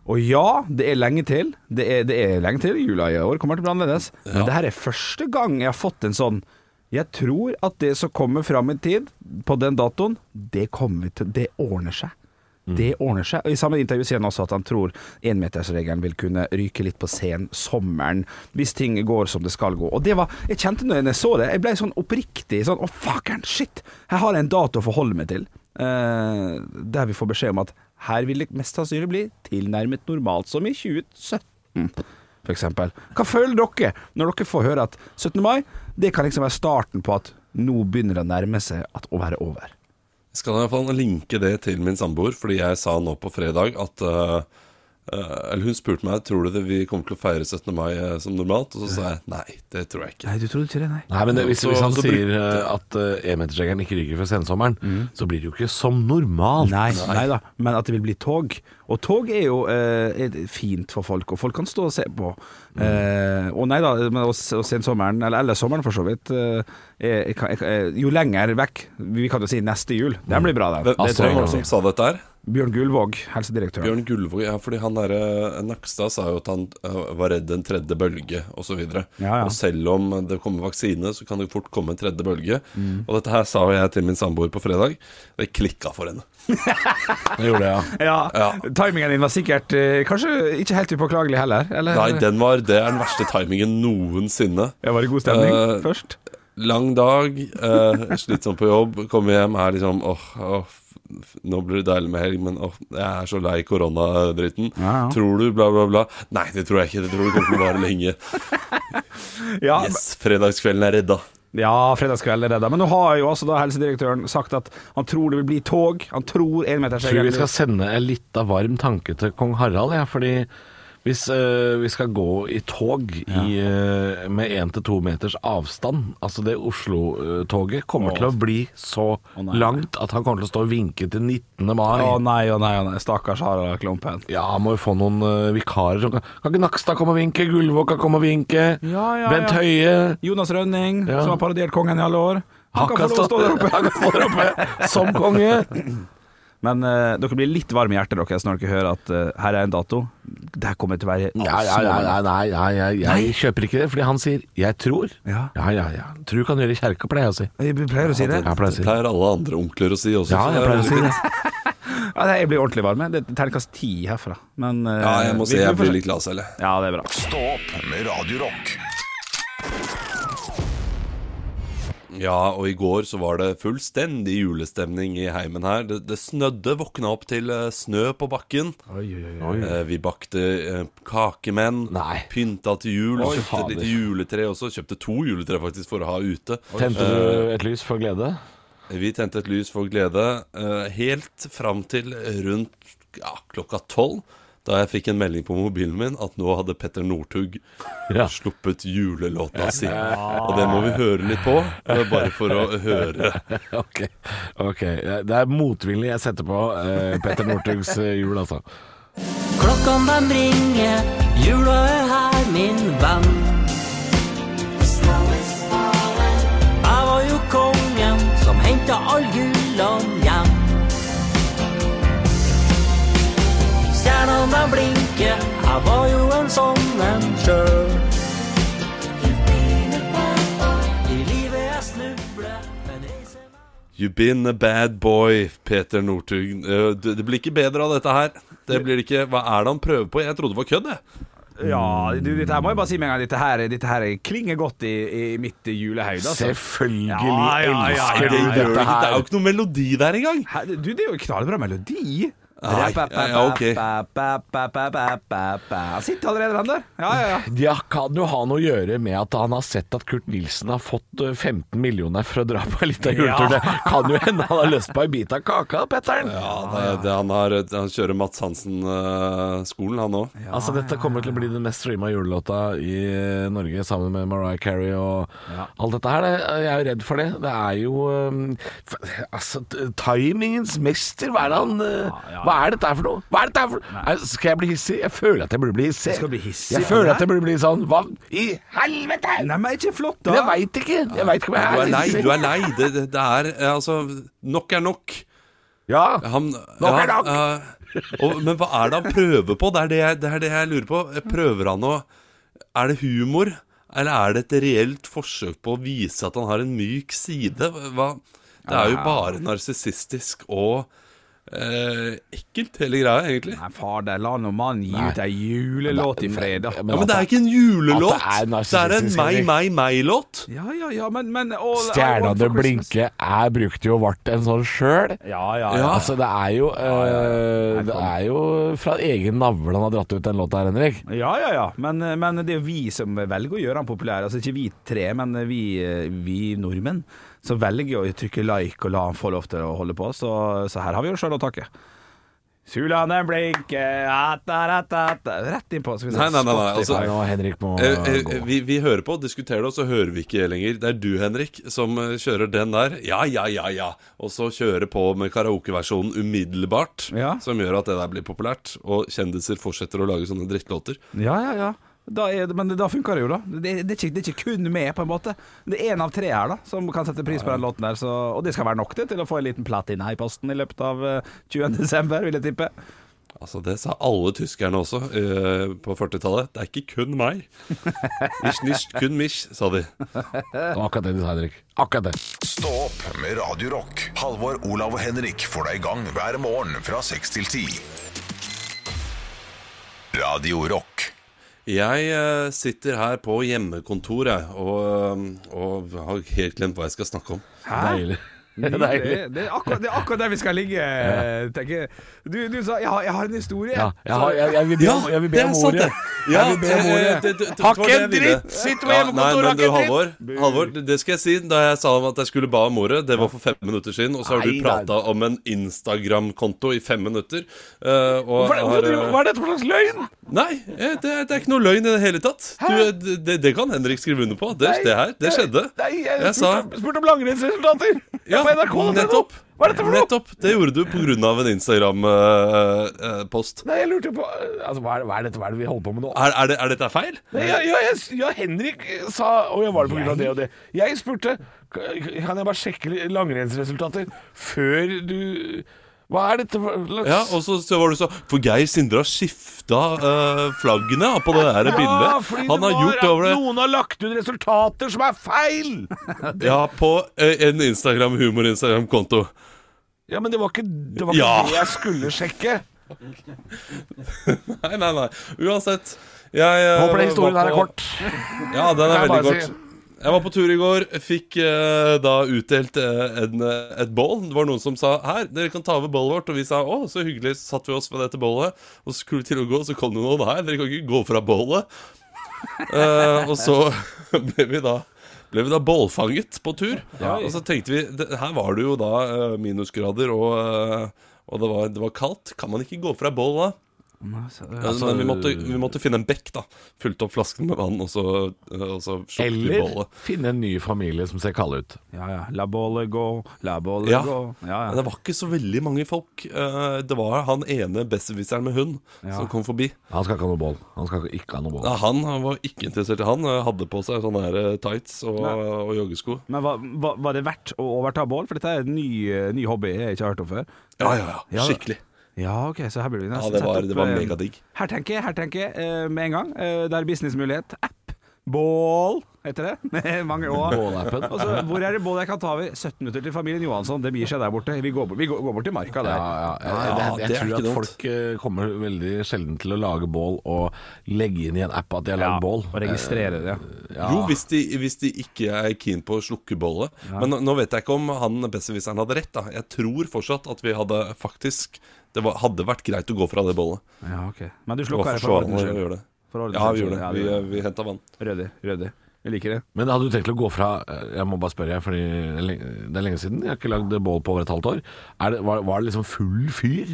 S5: Og ja, det er lenge til. Det er, det er lenge til. Jula i år kommer til å bli annerledes. Men det her er første gang jeg har fått en sånn Jeg tror at det som kommer fram i tid, på den datoen, det kommer vi til Det ordner seg. Det ordner seg. Og I samme intervju sier han også at han tror énmetersregelen vil kunne ryke litt på scenen sommeren, hvis ting går som det skal gå. Og det var Jeg kjente når jeg så det, jeg ble sånn oppriktig sånn Å, fuckeren, shit! Her har jeg en dato å forholde meg til. Eh, der vi får beskjed om at her vil det mest sannsynlig bli tilnærmet normalt som i 2017, f.eks. Hva føler dere når dere får høre at 17. mai, det kan liksom være starten på at nå begynner det å nærme seg at å være over?
S4: Jeg skal i hvert fall linke det til min samboer, fordi jeg sa nå på fredag at eh, eh, Eller hun spurte meg Tror du det vi kommer til å feire 17. mai eh, som normalt. Og så sa jeg nei, det tror jeg ikke.
S5: Nei, du trodde ikke det, nei.
S3: Nei, men det, hvis,
S4: Så-
S3: hvis han
S4: så
S3: sier eh, at eh, enmetersjegeren ikke ryker før sensommeren, så blir det jo ikke som normalt.
S5: Mm. Nei, nei da, men at det vil bli tog. Og tog er jo eh, er fint for folk, og folk kan stå og se på. Eh, og nei da, men å se- å se sommeren, eller, eller sommeren for så vidt, eh, er, er, er, jo lenger vekk Vi kan jo si neste jul. Den blir bra, den.
S4: Hvem
S5: Det
S4: hvem
S5: tror
S4: var det
S5: jeg.
S4: som sa dette her?
S5: Bjørn Gullvåg, helsedirektøren.
S4: Bjørn Gullvåg, ja, fordi han der eh, Nakstad sa jo at han eh, var redd en tredje bølge, og så videre.
S5: Ja, ja.
S4: Og selv om det kommer vaksine, så kan det jo fort komme en tredje bølge.
S5: Mm.
S4: Og dette her sa jo jeg til min samboer på fredag, og jeg klikka for henne.
S3: Det gjorde jeg, ja.
S5: Ja,
S4: Ja.
S5: Timingen din var sikkert eh, kanskje ikke helt upåklagelig heller? Eller?
S4: Nei, den var, det er den verste timingen noensinne.
S5: Ja, var det god stemning
S4: Eh,
S5: først?
S4: Lang dag, eh, slitsom på jobb, kommer hjem, er liksom åh, åh, f- nå blir det deilig med helg, men åh, jeg er så lei koronadritten.
S5: Ja, ja.
S4: Tror du bla, bla, bla? Nei, det tror jeg ikke. Det tror jeg kommer til å vare lenge.
S5: Ja,
S3: Ah,
S4: Yes, fredagskvelden er redda.
S5: Ja, fredagskveld er det da. Men nå har jo altså da helsedirektøren sagt at han tror det vil bli tog. Han tror
S3: Jeg tror
S5: enmetersregelen
S3: vi skal sende en litt av varm tanke til kong Harald, ja, fordi hvis eh, vi skal gå i tog i, eh, med én til to meters avstand Altså det Oslo-toget kommer
S5: Åh.
S3: til å bli så
S5: Å, nei.
S3: langt at han kommer til å stå og vinke til 19. mai.
S5: Å nei, å nei, å nei. Stakkars Harald Klumpen.
S3: Ja, han må jo få noen eh, vikarer som kan Kan ikke Nakstad komme og vinke? Gullvåg kan komme og vinke?
S5: Ja, ja,
S3: Bent
S5: ja.
S3: Høie?
S5: Jonas Rønning,
S3: Ja.
S5: som har parodiert kongen i alle år. Han kan få lov å stå der oppe.
S3: Han kan stå der oppe som konge.
S5: Men eh, dere blir litt varme i hjertet deres når dere hører at eh, her er en dato. Det her kommer til å være
S3: Ja, ja, ja, nei, nei, nei, jeg, jeg kjøper ikke det, fordi han sier 'jeg tror'.
S5: Ja.
S3: ja, ja. ja. Tru kan gjøre i kjerka, pleier jeg å si.
S5: Jeg pleier å si det.
S3: Jeg pleier å si det.
S4: pleier alle andre onkler å si også. så
S3: Ja, jeg
S4: det er
S3: pleier å si
S4: veldig
S3: det.
S4: fint.
S5: Ja, nei, jeg blir ordentlig varme. Det er terningkast ti herfra. Men eh,
S4: Ja, jeg må
S5: vi-
S4: si
S5: vi
S4: jeg
S5: får se.
S4: blir litt glad selv, jeg.
S5: Ja, det er bra.
S1: Stå opp med Radio Rock.
S4: Ja, og i går så var det fullstendig julestemning i heimen her. Det, det snødde, våkna opp til eh, snø på bakken. Eh, Vi bakte eh, kakemenn,
S3: Nei.
S4: pynta til jul,
S3: Oi,
S4: kjøpte et
S3: fader.
S4: lite juletre også. Kjøpte to juletre faktisk for å ha ute. Eh,
S3: Tente du et lys for glede?
S4: Vi tente et lys for glede eh, helt fram til rundt ja, klokka tolv. Da jeg fikk en melding på mobilen min at nå hadde Petter Northug
S3: Ja.
S4: sluppet julelåta si. Og det må vi høre litt på, eh, bare for å høre.
S3: Ok. ok. Det er motvillig jeg setter på eh, Petter Northugs eh, jul, altså.
S6: Klokkan den ringer, jula er her, min venn. Jeg var jo kongen som henta all gullan hjem. Stjernene de blinker, jeg var jo en sånn en sjøl. I livet jeg snubler, men reiser meg
S4: You been a bad boy, Peter Northug. Eh, Det det blir ikke bedre av dette her. Det blir det ikke, Hva er det han prøver på? Jeg trodde det var kødd, jeg.
S5: Ja, du, dette her må jeg bare si med en gang. Dette her, dette her klinger godt i, i mitt julehøyde. Altså.
S3: Selvfølgelig
S5: Ja, ja, ja,
S3: elsker
S4: Det,
S3: du
S5: ja,
S4: gjør det
S3: dette
S4: ikke. det er
S3: her.
S4: jo ikke noe melodi der engang.
S5: Hæ, du, det er jo knallbra melodi.
S4: Nei, ja, ja, ok.
S5: Han sitter allerede den der. Ja, ja, ja.
S3: Ja, kan jo ha noe å gjøre med at han har sett at Kurt Nilsen har fått eh, 15 millioner for å dra på en liten juletur. Det kan jo hende han har lyst på en bit av kaka, Petter'n.
S4: Ja, det, det, han, har, han kjører Mats Hansen-skolen, han òg.
S3: altså, dette kommer til å bli den mest streama julelåta i eh, Norge, sammen med Mariah Carey og alt dette her. Det- Jeg er jo redd for det. Det er jo eh, f- Altså, t- timingens mester. Hva er det han eh, Hva er dette her for noe? Hva er dette her for Nei, Skal jeg bli hissig? Jeg føler at jeg burde bli hissig.
S5: skal bli hissig
S3: Jeg
S5: på det
S3: føler
S5: her?
S3: at jeg burde bli sånn Hva i helvete?
S5: Nei, men er ikke flott, da?
S3: Men jeg veit ikke. Jeg vet ikke om
S4: Du
S3: jeg
S4: er
S3: er
S4: lei,
S3: hissig.
S4: du er lei. Det, det, det er eh, altså Nok er nok.
S3: Ja.
S4: Han,
S3: Nok er nok.
S4: eh, og, men hva er det han prøver på? Det er det, jeg, det er det jeg lurer på. Prøver han å Er det humor? Eller er det et reelt forsøk på å vise at han har en myk side? Hva? Det er jo bare narsissistisk og eh, ekkelt, hele greia, egentlig.
S5: Nei, far, der, la nå mannen gi ut ei julelåt i fred, da.
S4: Ja, Men det er ikke en julelåt!
S3: At det er
S4: Det er en
S3: narsissistisk,
S4: meg,
S3: Henrik.
S4: meg, meg-låt.
S5: Ja, ja, ja, men, men all I want
S3: Stjernene
S5: for Christmas.
S3: blinke er brukt jo vart en sånn sjøl.
S5: Ja, ja, ja.
S4: Ja.
S3: Altså, det er jo eh, Det er jo fra egen navle han har dratt ut den låta her, Henrik.
S5: Ja, ja, ja. Men, eh, men det er jo vi som velger å gjøre han populær. Altså ikke vi tre, men vi, eh, vi nordmenn som velger å trykke like og la han få lov til å holde på. Så, så her har vi jo sjøl å takke. Sulane eh, blinker Rett innpå. så vi
S4: Nei,
S5: ser
S4: nei, nei, nei, altså-
S5: Spotify.
S3: Nå, Henrik må
S4: Eh,
S3: eh,
S4: eh, vi, vi hører på, diskuterer det, og så hører vi ikke lenger. Det er du, Henrik, som eh, kjører den der. Ja, ja, ja, ja. Og så kjører på med karaokeversjonen umiddelbart,
S5: Ja.
S4: som gjør at det der blir populært. Og kjendiser fortsetter å lage sånne drittlåter.
S5: Ja, ja, ja. Da er, det- men da funker det jo, da. Det, det, er ikke, det er ikke kun meg, på en måte. Det er én av tre her da som kan sette pris på den låten der. Så, og det skal være nok det til å få en liten platin her i posten i løpet av eh, 20. desember, vil jeg tippe.
S4: Altså, Det sa alle tyskerne også eh, på 40-tallet. Det er ikke kun meg. Nicht, nicht, kun mich, sa de.
S3: Det var akkurat det du sa, Henrik. Akkurat det.
S1: Stå opp med Radio Rock. Halvor, Olav og Henrik får deg i gang hver morgen fra 6 til 10. Radio Rock.
S4: Jeg eh, sitter her på hjemmekontoret og, eh, og har helt glemt hva jeg skal snakke om.
S3: Deilig.
S5: Det,
S3: Deilig.
S5: det, er akkurat, det er akkurat der vi skal ligge, tenker jeg. Du, du sa jeg har, 'jeg har en historie'.
S3: Ja, jeg, har, jeg, jeg vil be om, jeg vil be om ordet.
S4: Ja,
S3: Jeg vil be om
S4: eh,
S3: ordet.
S4: eh, det- det- det
S3: Har
S4: var
S3: ikke
S4: det
S3: en
S4: jeg ville.
S3: dritt! Sitter på
S4: Ja,
S3: hjemmekontor,
S4: nei,
S3: har
S4: men du,
S3: ikke en dritt!
S4: Halvor, Halvor, det- det skal jeg si. Da jeg sa om at jeg skulle ba om ordet, det var for fem minutter siden, og så har du
S3: Nei, nei.
S4: prata om en Instagram-konto i fem minutter. eh, og
S5: Hva,
S4: har,
S5: hvorfor driver-
S4: eh,
S5: hva er dette for slags løgn?
S4: Nei, eh, det, er- det er ikke noe løgn i det hele tatt. Du, eh, det, det kan Henrik skrive under på. Det, det her, det skjedde.
S5: Nei, jeg,
S4: Jeg sa-
S5: spurte, spurte om langrennsresultater på NRK.
S4: nettopp.
S5: Hva er dette for noe?
S4: Nettopp. Det gjorde du pga. en Instagram-post.
S5: Nei, jeg lurte på
S3: Altså, hva, er, hva er dette hva er det vi holder på med nå?
S4: Er, er, det, er dette feil?
S3: Nei, ja, ja, jeg, ja, Henrik eh, sa Å, jeg var det på grunn av det og det. Jeg spurte Kan jeg bare sjekke li- langrennsresultater før du Hva er dette for slags
S4: Ja, og så, så var det så For Geir Sindre har skifta eh, flaggene på det der
S3: Ja,
S4: bildet.
S3: fordi
S4: Han
S3: det
S4: har
S3: var
S4: gjort over
S3: at
S4: det
S3: noen har lagt ut resultater som er feil!
S4: Ja, på eh, en Instagram humor-Instagram-konto.
S3: Ja, men det var ikke det, var ikke
S4: Ja.
S3: det jeg skulle sjekke.
S4: Nei, nei, nei. Uansett. Jeg eh,
S3: Håper den historien
S4: var
S3: her er
S4: på-
S3: kort.
S4: Ja, den
S3: Kan
S4: er
S3: jeg
S4: veldig
S3: bare
S4: kort.
S3: si.
S4: Jeg var på tur i går, fikk eh, da utdelt eh, en, eh, et bål. Det var noen som sa 'her, dere kan ta over bålet vårt', og vi sa 'å, så hyggelig', så satte vi oss ved dette bålet. Og så skulle vi til å gå, så kom det noen 'her, dere kan ikke gå fra bålet'. Eh, og så ble vi da ble vi da bålfanget på tur. Og så tenkte vi det, Her var det jo da eh, minusgrader, og, eh, og det, var, det var kaldt. Kan man ikke gå fra bål da? Ja, men vi måtte, vi måtte finne en bekk, da. Fylte opp flasken med vann, og så, eh, og så sjokte vi
S3: Eller
S4: bålet.
S3: finne en ny familie som ser kalde ut.
S5: Ja, ja. La bålet gå, la bålet
S4: Ja.
S5: gå. Ja, ja.
S4: Men det var ikke så veldig mange folk. Eh, Det var han ene besserwisseren med hund som kom forbi.
S3: Han skal ikke ha noe bål. Han skal ikke ha noe bål.
S4: Ja, han han var ikke interessert i han. eh, Hadde på seg sånne her eh, tights og, og joggesko.
S5: Men var, var, var det verdt å overta bål? For dette er en ny, eh, ny hobby jeg ikke har hørt om før.
S4: Ja, ja, ja. Skikkelig.
S5: Ja, ok, så her burde vi
S4: Ja,
S5: nesten
S4: det var,
S5: sette opp,
S4: det var
S5: eh,
S4: megadigg.
S5: Her tenker jeg, her tenker jeg eh, med en gang. Eh, det er businessmulighet. App. Bål, heter det. Med mange år.
S3: Bålappen.
S5: Og så, hvor er det bål jeg kan ta over? 17 minutter til familien Johansson. Det blir seg der borte. Vi går, bort- vi går, går bort til marka der.
S3: Ja, ja, ja,
S4: Ja,
S3: jeg,
S4: det
S3: jeg,
S4: er
S3: tror
S4: ikke
S3: at
S4: dumt.
S3: folk eh, kommer veldig sjelden til å lage bål og legge inn i en app at de har lagd bål.
S5: og registrere det.
S3: Ja.
S4: Jo, hvis de, hvis de ikke er keen på å slukke bålet. Men nå, nå vet jeg ikke om han besserwisseren hadde rett. da Jeg tror fortsatt at vi hadde faktisk Det var, hadde vært greit å gå fra det bålet.
S5: Ja, ok. Men du
S4: Det var
S5: slukka her for
S4: forsvarlig
S5: ordens
S4: å
S5: skyld.
S4: gjøre det.
S5: For ordens
S4: Ja, vi
S5: skyld.
S4: gjorde det.
S5: du
S4: Vi,
S5: gjorde det.
S4: vi henta vann.
S5: Ryddig. Ryddig. Jeg liker det.
S3: Men hadde du tenkt å gå fra eh, Jeg må bare spørre, jeg, fordi det er lenge- det er lenge siden. Jeg har ikke lagd bål på over et halvt år. Er det, var, var det liksom full fyr?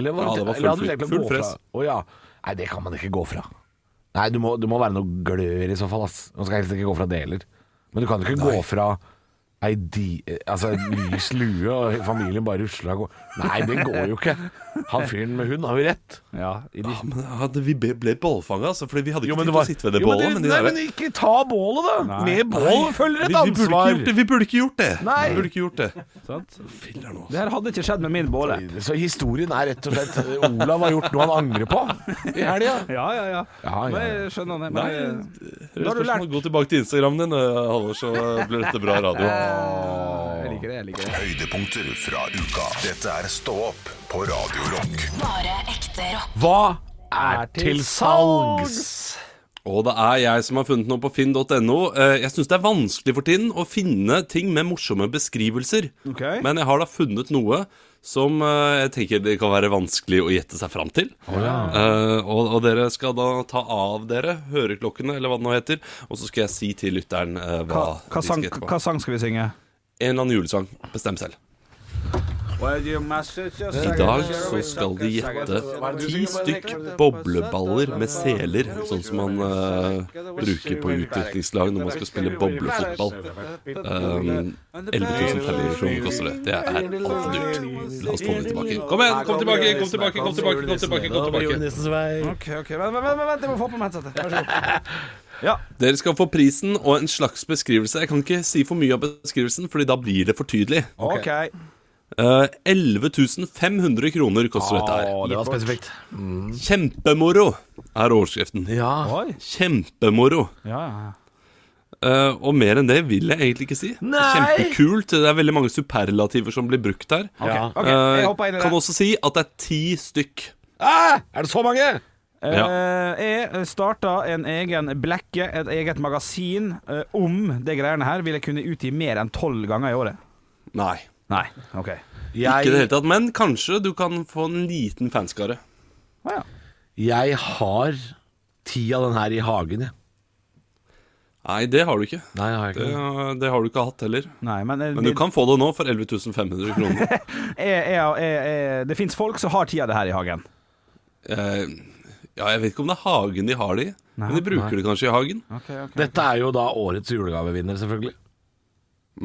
S3: Eller, var
S4: Ja, det var full
S3: eller hadde du
S4: fyr.
S3: tenkt å
S4: Full
S3: gå
S4: fress.
S3: fra- Å ja. Nei, det kan man ikke gå fra. Nei, du må, det må være noe glør i så fall, ass. Man skal helst ikke gå fra det heller. Men du kan jo ikke gå fra ei di... eh, Altså, en lys lue, og familien bare rusler av gårde. Nei, det går jo ikke. Han fyren med hund har jo rett.
S5: Ja, i de
S4: Ja, men hadde vi ble, ble bålfanga, altså, fordi vi hadde ikke
S3: men
S4: tid
S3: det
S4: til
S3: var-
S4: å sitte ved det
S3: Jo, men
S4: bålet.
S3: det-
S4: Men de
S3: nei,
S4: der-
S3: men ikke ta bålet, da!
S5: Nei.
S3: Med bål følger
S4: vi,
S3: et
S4: vi burde ikke
S3: ansvar.
S4: gjort det! Vi burde ikke gjort det!
S3: Nei.
S4: Vi burde ikke gjort det.
S5: sant?
S4: Filler nå,
S5: Det her hadde ikke skjedd med min båle.
S3: Så historien er rett og slett eh, Olav har gjort noe han angrer på i helga.
S5: Ja, ja, ja.
S3: Ja, ja, ja.
S5: Men jeg skjønner det.
S4: Nei,
S5: Men,
S4: Da
S5: har du lært.
S4: Gå tilbake til Instagramen din, eh, Halvor, så blir dette bra radio.
S5: jeg liker det. Jeg liker det.
S1: Høydepunkter fra uka. Dette er Stå opp på Radio Rock.
S2: Bare ekte rock.
S3: Hva er til salgs?
S4: Og det er jeg som har funnet noe på finn.no. Eh, Jeg syns det er vanskelig for tiden å finne ting med morsomme beskrivelser.
S5: Ok.
S4: Men jeg har da funnet noe som eh, jeg tenker det kan være vanskelig å gjette seg fram til. Eh, og, og dere skal da ta av dere høreklokkene, eller hva det nå heter, og så skal jeg si til lytteren eh,
S5: Hva,
S4: hva,
S5: hva,
S4: de
S5: sang,
S4: skal gjette på.
S5: hva sang skal vi synge?
S4: En eller annen julesang. Bestem selv. I dag så skal de gjette ti stykk bobleballer med seler, sånn som man eh, bruker på utviklingslag når man skal spille boblefotball. Um, 11 500 kroner koster det. Det er altfor dyrt. La oss få det tilbake. Kom igjen, kom tilbake, kom tilbake, kom tilbake! kom tilbake, kom tilbake,
S5: Ok, ok, vent, vent, vent, vent, jeg må få på meg headsetet. Vær så god. Ja.
S4: Dere skal få prisen og en slags beskrivelse. Jeg kan ikke si for mye av beskrivelsen, Fordi da blir det for tydelig.
S5: Ok.
S4: Eh, 11 500 kroner koster dette her.
S5: Å, det var spesifikt.
S4: Kjempemoro er overskriften.
S3: Ja.
S5: Oi.
S4: Kjempemoro.
S5: Ja, ja.
S4: Eh, og mer enn det vil jeg egentlig ikke si. Kjempekult. Det er veldig mange superlativer som blir brukt her.
S3: Ja.
S5: Ok, jeg
S4: Eh,
S5: hopper inn i det.
S4: kan også si at det er ti stykk.
S3: Er det så mange?
S5: Eh, Jeg starta en egen blekke, et eget magasin, eh, om de greiene her. Vil jeg kunne utgi mer enn tolv ganger i året?
S4: Nei.
S5: Nei. OK.
S4: Ikke i det
S3: Jeg,
S4: hele tatt. Men kanskje du kan få en liten fanskare.
S5: Å ja.
S3: jeg har ti av den her i hagen, jeg.
S4: Nei, det har du ikke.
S3: Nei, jeg har ikke
S4: Det, eh,
S3: det.
S4: det har du ikke hatt heller.
S5: Nei, men, eh,
S4: Men du kan få det nå for 11 500 kroner.
S5: jeg, jeg, jeg, jeg, Det fins folk som har tid av det her i hagen.
S4: Eh, ja, jeg vet ikke om det er hagen de har det i, men de bruker det kanskje i hagen.
S3: Dette er jo da årets julegavevinner, selvfølgelig.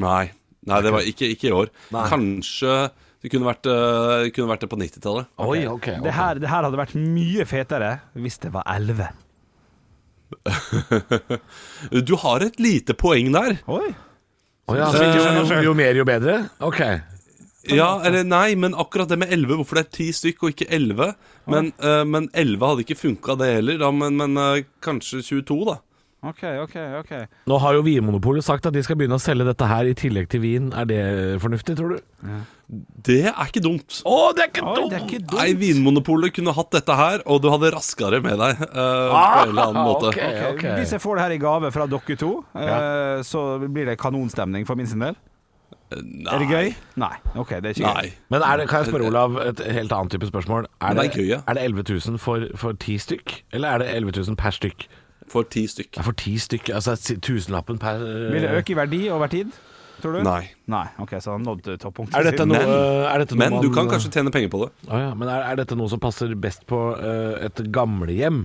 S4: Nei, Nei det var ikke, ikke i år. Kanskje det kunne vært, eh, kunne vært det på 90-tallet.
S3: Oi, ok, ok.
S5: Det her, det her hadde vært mye fetere hvis det var elleve.
S4: Du har et lite poeng der.
S5: Oi.
S3: Å ja, så jo, jo mer, jo bedre? Ok.
S4: Ja, eller nei, men akkurat det med 11 Hvorfor det er 10 stykk og ikke 11 Men, eh, men 11 hadde ikke funket det heller da, Men, men eh, kanskje 22 da
S5: OK, OK, OK.
S3: Nå har jo Vinmonopolet sagt at de skal begynne å selge dette her i tillegg til vin. Er det fornuftig, tror du?
S4: Det er ikke dumt
S3: Å, det er ikke
S5: Oi, det er ikke dumt.
S4: Nei, Vinmonopolet kunne hatt dette her Og du hadde raskere med deg eh, På en eller annen måte
S3: Ah, ok,
S5: Ok,
S3: ok.
S5: Hvis jeg får det her i gave fra dere to, eh, så blir det kanonstemning for min sin del.
S4: Nei,
S5: Er det gøy? Nei. OK, det er ikke
S4: Eh, Nei
S5: gøy.
S3: Men er det, kan jeg spørre Olav et helt annet type spørsmål? Er
S4: Men det er gøy, ja.
S3: er det 11 000 for, for 10 stykk, eller er det 11 000 per stykk?
S4: for 10 stykk
S3: Det er for 10 stykk, altså si- tusenlappen per
S5: Vil det øke i verdi over tid? Tror du?
S4: Nei
S5: Nei, ok, så han nådde toppunktet
S3: eh, Er dette
S5: sitt.
S3: noe,
S4: Men-
S3: er dette noe
S4: Men du
S3: man-
S4: kan kanskje tjene penger på det
S3: Å ja, Men er, er dette noe som passer best på eh, et gamlehjem?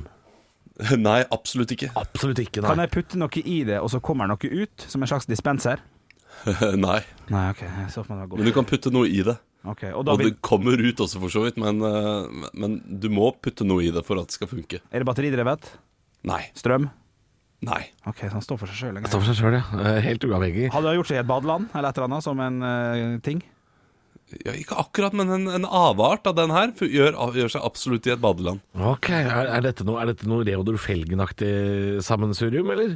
S4: Nei, absolutt ikke
S3: Absolutt ikke,
S5: Kan
S3: nei.
S5: jeg putte noe i det, og så kommer noe ut, som en slags dispenser?
S4: Nei,
S5: Nei, ok, jeg så for meg det var
S4: men du
S5: godt.
S4: kan putte noe i det
S5: Ok, og da
S4: Og
S5: vil,
S4: det kommer ut også for så vidt Men, eh, men du må putte noe i det for at det skal funke
S5: er det batteridrevet?
S4: Nei,
S5: Strøm?
S4: nei
S5: Ok, så han står for seg sjøl
S3: Står
S5: lenger.
S3: for seg sjøl, ja. Eh, Helt uavhengig.
S5: Hadde han gjort seg i et badeland, eller et eller annet, som en eh, ting?
S4: Ja, ikke akkurat, men en, en avart av den her fu- gjør, gjør seg absolutt i et badeland.
S3: Ok, Er, er dette noe, er dette noe Reodor Felgen-aktig sammensurium, eller?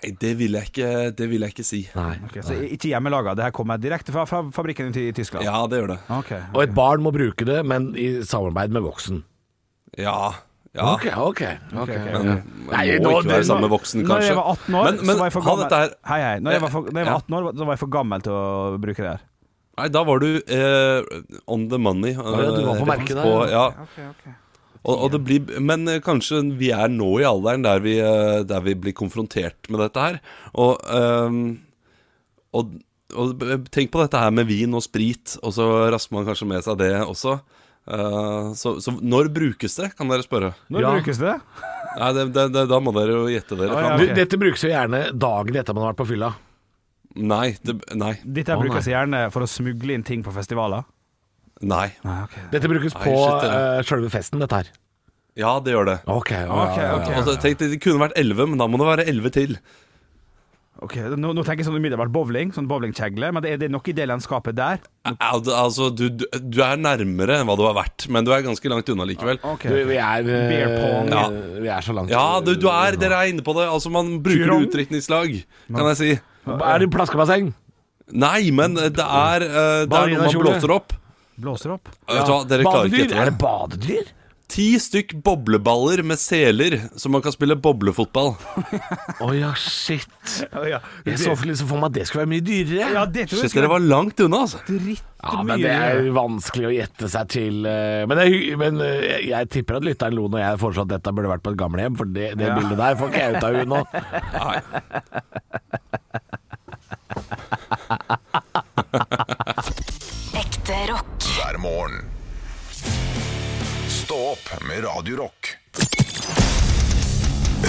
S4: Nei, det vil jeg ikke, det vil jeg ikke si.
S3: Nei.
S5: Ok, så ikke hjemmelaga, det her kommer direkte fra, fra fabrikken i Ty- i Tyskland?
S4: Ja, det gjør det.
S5: Ok,
S3: Og et barn må bruke det, men i samarbeid med voksen.
S4: Ja. ja.
S3: Ok, ok. ok.
S5: ok,
S4: Men
S3: Ja.
S4: man
S3: Nei,
S4: må
S3: nå-
S4: ikke være sammen med voksen,
S5: Når
S4: kanskje.
S5: jeg var 18 år,
S4: men, men,
S5: så var jeg for
S4: ha
S5: gammel
S4: dette her.
S5: Hei, hei. Når jeg var, for, når jeg
S4: Ja.
S5: var 18 år, da var jeg for gammel til å bruke det her.
S4: Nei, da var du eh, on the money.
S3: ja, du var på
S4: eh,
S3: merket der,
S4: ja.
S5: Ok, ok
S4: Og, og det blir, men eh, kanskje vi er nå i alderen der vi, eh, der vi blir konfrontert med dette her. Og, ehm, og, og b- b- tenk på dette her med vin og sprit, og så rasker man kanskje med seg det også. Eh, så, så når brukes det, kan dere spørre.
S5: Når
S3: Ja.
S5: brukes det?
S4: Nei, det, det, det, Da må dere jo gjette dere
S5: Å, ja.
S4: fram.
S3: Du,
S5: Ok.
S3: Dette brukes jo gjerne dagen etter man har vært på fylla.
S4: Nei, det, nei,
S5: Dette
S3: Å, nei.
S5: brukes gjerne for å smugle inn ting på festivaler.
S4: nei.
S5: Nei, ok
S3: Dette brukes
S4: Nei,
S3: på
S4: shit, det
S3: uh,
S4: er-
S3: sjølve festen, dette her.
S4: Ja, det gjør det.
S3: Ok,
S5: Ok, ok.
S4: Altså, tenk, det kunne vært elleve, men da må det være elleve til.
S5: Ok, nå, nå tenker jeg sånn umiddelbart bowling, sånn bowlingkjegle, men det er, det er nok i det landskapet der.
S4: Al altså, du, du, du er nærmere enn hva du har vært, men du er ganske langt unna likevel.
S5: Ok,
S3: Du, vi er eh,
S5: Beer pong.
S4: Ja.
S3: Vi er så langt
S4: Ja, du, du er, dere er inne på det. Altså, man bruker
S5: Tyrong?
S4: utdrikningslag, kan jeg si.
S3: Er det
S4: eh,
S3: plaskebasseng?
S4: Nei, men det er, eh, det er noe man
S3: Balerinakjole.
S4: blåser opp.
S5: Blåser opp.
S4: Vet du hva, dere klarer ikke
S3: Badedyr? Er
S4: etter
S3: det
S4: det.
S3: badedyr?
S4: Ti stykk bobleballer med seler, så man kan spille boblefotball.
S3: Å ja, shit.
S5: Ja,
S3: Jeg så liksom for meg at det skulle være mye dyrere.
S5: ja, det tror jeg
S4: Shit, dere
S5: skulle
S4: var langt unna, altså.
S5: drittmye.
S3: Ja, men det er vanskelig å gjette seg til eh, Men, jeg, men eh, jeg, jeg tipper at lytteren lo når jeg foreslo at dette burde vært på et gamlehjem, for det, det bildet der får ikke jeg ut av henne nå.
S4: Nei.
S2: Ekte rock.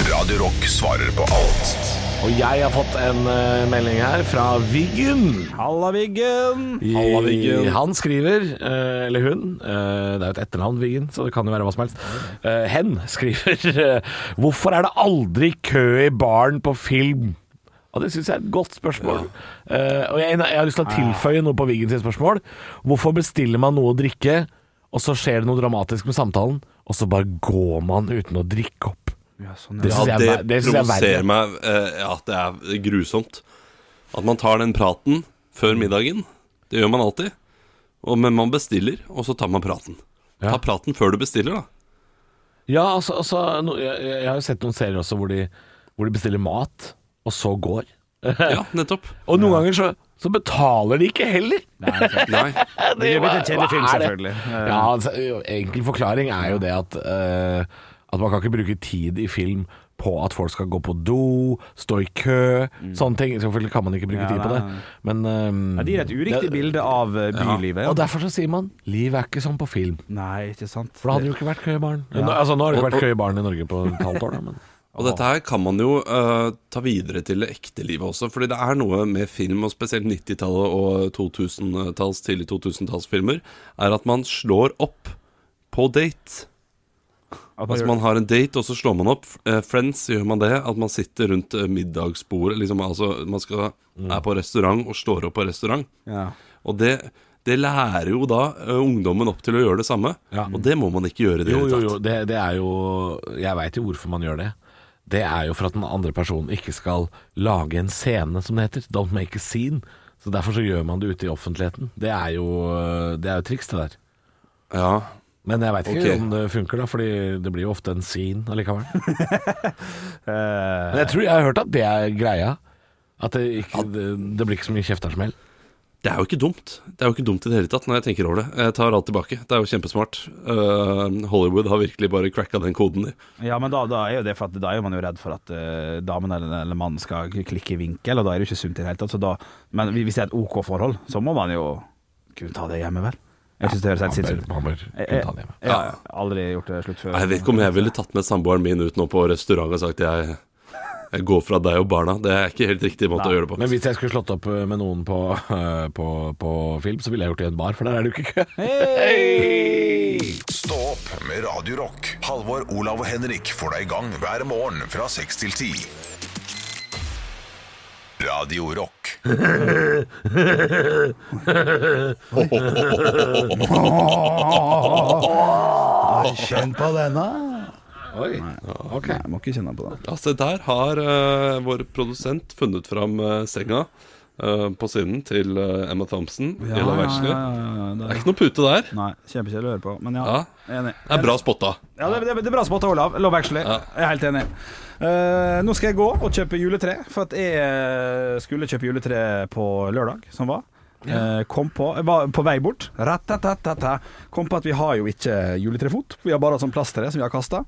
S1: Radio Rock svarer på alt.
S3: Og jeg har fått en eh, melding her fra Viggen.
S5: Halla, Viggen!
S4: Halla, Viggen.
S3: Han skriver, eh, eller hun, eh, det er jo et etternavn, Viggen, så det kan jo være hva som helst. Eh, hen skriver eh, Hvorfor er det aldri kø i baren på film? Og Det syns jeg er et godt spørsmål. Eh, og jeg, jeg har lyst til å tilføye noe på Viggen sitt spørsmål. Hvorfor bestiller man noe å drikke, og så skjer det noe dramatisk med samtalen, og så bare går man uten å drikke opp?
S5: Ja, sånn,
S3: Det
S5: ja.
S4: Ja,
S3: synes jeg er
S4: det
S3: ver- det synes jeg er verre.
S4: provoserer meg eh, Ja, det er grusomt At man tar den praten
S3: Mm.
S4: før middagen Det gjør man alltid og, Men man bestiller, og så tar man praten
S3: Ja.
S4: Ta praten før du bestiller da
S3: Ja, altså, altså no, jeg, jeg har jo sett noen serier også hvor de, hvor de bestiller mat, og så går.
S4: Ja, nettopp
S3: Og noen ganger så, så betaler de ikke heller.
S4: Nei,
S5: Det er jo blitt en kjedelig film,
S3: Hva er det?
S5: selvfølgelig.
S3: Ja, altså, Enkel forklaring er jo det at, eh, at man kan ikke bruke tid i film på at folk skal gå på do, stå i kø, sånne ting. Selvfølgelig kan man ikke bruke
S5: Mm. Ja,
S3: tid på
S5: nei,
S3: det,
S5: nei.
S3: men eh,
S5: Ja, det gir et uriktig
S3: det-
S5: bilde av eh, bylivet.
S3: Og
S5: Ja.
S3: derfor så sier man livet er ikke sånn på film.
S5: Nei, ikke sant.
S3: For da hadde det jo ikke vært kø i baren. Nå- Altså, nå har det ikke vært kø i baren i Norge på et halvt år, da, men
S4: Og dette her kan man jo eh, ta videre til det ekte livet også, fordi det er noe med film, og spesielt 90-tallet og 2000-talls, tidlig 2000-tallsfilmer, er at man slår opp på date.
S5: At man
S4: Altså
S5: gjør-
S4: man har en date, og så slår man opp. Eh, Friends gjør man det, at man sitter rundt eh, middagsbordet, liksom, altså man skal,
S3: Mm.
S4: er på restaurant og slår opp på restaurant.
S5: ja.
S4: Og det, det lærer jo da eh, ungdommen opp til å gjøre det samme,
S3: Ja.
S4: og det må man ikke gjøre i det
S3: Jo,
S4: hele
S3: jo,
S4: tatt.
S3: jo. Det, det er jo Jeg veit jo hvorfor man gjør det. Det er jo for at den andre personen ikke skal lage en scene, som det heter. Don't make a scene. Så Derfor så gjør man det ute i offentligheten. Det er jo, det er jo triks, det der.
S4: Ja,
S3: Men jeg veit ikke
S4: Ok.
S3: om det funker, da, Fordi det blir jo ofte en scene allikevel.
S5: Eh,
S3: Men jeg tror jeg har hørt at det er greia. At det, ikke, det, det blir ikke så mye kjeftasmell.
S4: Det er jo ikke dumt. Det er jo ikke dumt i det hele tatt når jeg tenker over det. Jeg tar alt tilbake. Det er jo kjempesmart. Eh, Hollywood har virkelig bare cracka den koden. de.
S5: ja, men da, da er jo det for at da er jo man jo redd for at eh, damen eller, eller mannen skal klikke i vinkel, og da er det jo ikke sunt i det hele tatt. Så da, men hvis det er et OK forhold, så må man jo kunne ta det hjemme, vel? Jeg synes det høres helt
S3: Man
S5: sinnssykt
S3: bør-
S5: ut. Eh,
S3: man bør
S5: Jeg-
S4: Eh,
S3: kunne ta det hjemme.
S5: jeg-
S4: Ja, ja.
S5: Aldri gjort det slutt før.
S4: Jeg vet ikke om jeg ville tatt med samboeren min ut nå på restaurant og sagt jeg, jeg går fra deg og barna. Det er ikke helt riktig måte å gjøre det på.
S3: Men hvis jeg skulle slått opp eh, med noen på, eh, på, på film, så ville jeg gjort det i en bar, for der er det jo ikke kø.
S1: Stå opp med Radio Rock. Halvor, Olav og Henrik får deg i gang hver morgen fra 6 til 10. Radio Rock.
S5: Kjenn på denne.
S3: Oi, ok
S5: Jeg må ikke kjenne på det.
S4: Ja, se der har eh, vår produsent funnet fram eh, senga eh, på siden til eh, Emma Thompson i La Versle. Det er ikke noe pute der.
S5: Nei, kjempekjedelig å høre på, men ja,
S4: Ja.
S5: enig.
S4: Det er bra spotta.
S5: Ja, det, det, det er bra spotta, Olav. Love Actually. Jeg er helt enig. Eh, nå skal jeg gå og kjøpe juletre, for at jeg eh, skulle kjøpe juletre på lørdag, som var. Eh, kom på Jeg var på vei bort. Ratatatata. Kom på at vi har jo ikke juletrefot. Vi har bare sånn plasttre som vi har kasta.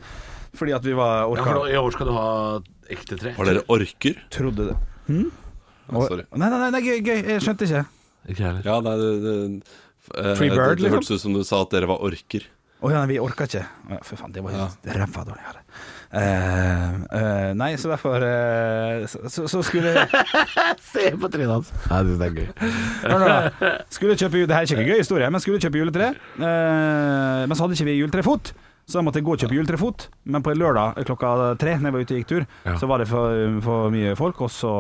S5: Fordi at vi var
S3: Ja,
S5: orka.
S3: for I år skal du ha ekte tre.
S4: Har dere orker?
S5: Trodde det.
S3: Hm?
S4: Ja, sorry.
S5: Nei, nei, nei, nei, gøy, gøy. Jeg skjønte ikke.
S3: Ikke heller.
S4: Ja, nei, det, det, eh,
S5: Free Bird,
S4: det, det
S5: liksom?
S4: hørtes ut som du sa at dere var orker.
S5: Å ja, nei, vi orka ikke. Å ja, Fy faen, det var helt ræva dårlig. av det. Eh, eh, nei, så derfor eh, så, så- så skulle jeg
S3: Se på trynet hans. Jeg syns det er gøy.
S5: Hør nå, da. Skulle kjøpe jule- Det her er ikke en gøy historie, men skulle kjøpe juletre. Eh, men så hadde ikke vi juletrefot, så da måtte jeg gå og kjøpe juletrefot. Men på en lørdag klokka tre, når jeg var ute og gikk tur,
S3: Ja.
S5: så var det for, for mye folk, og så,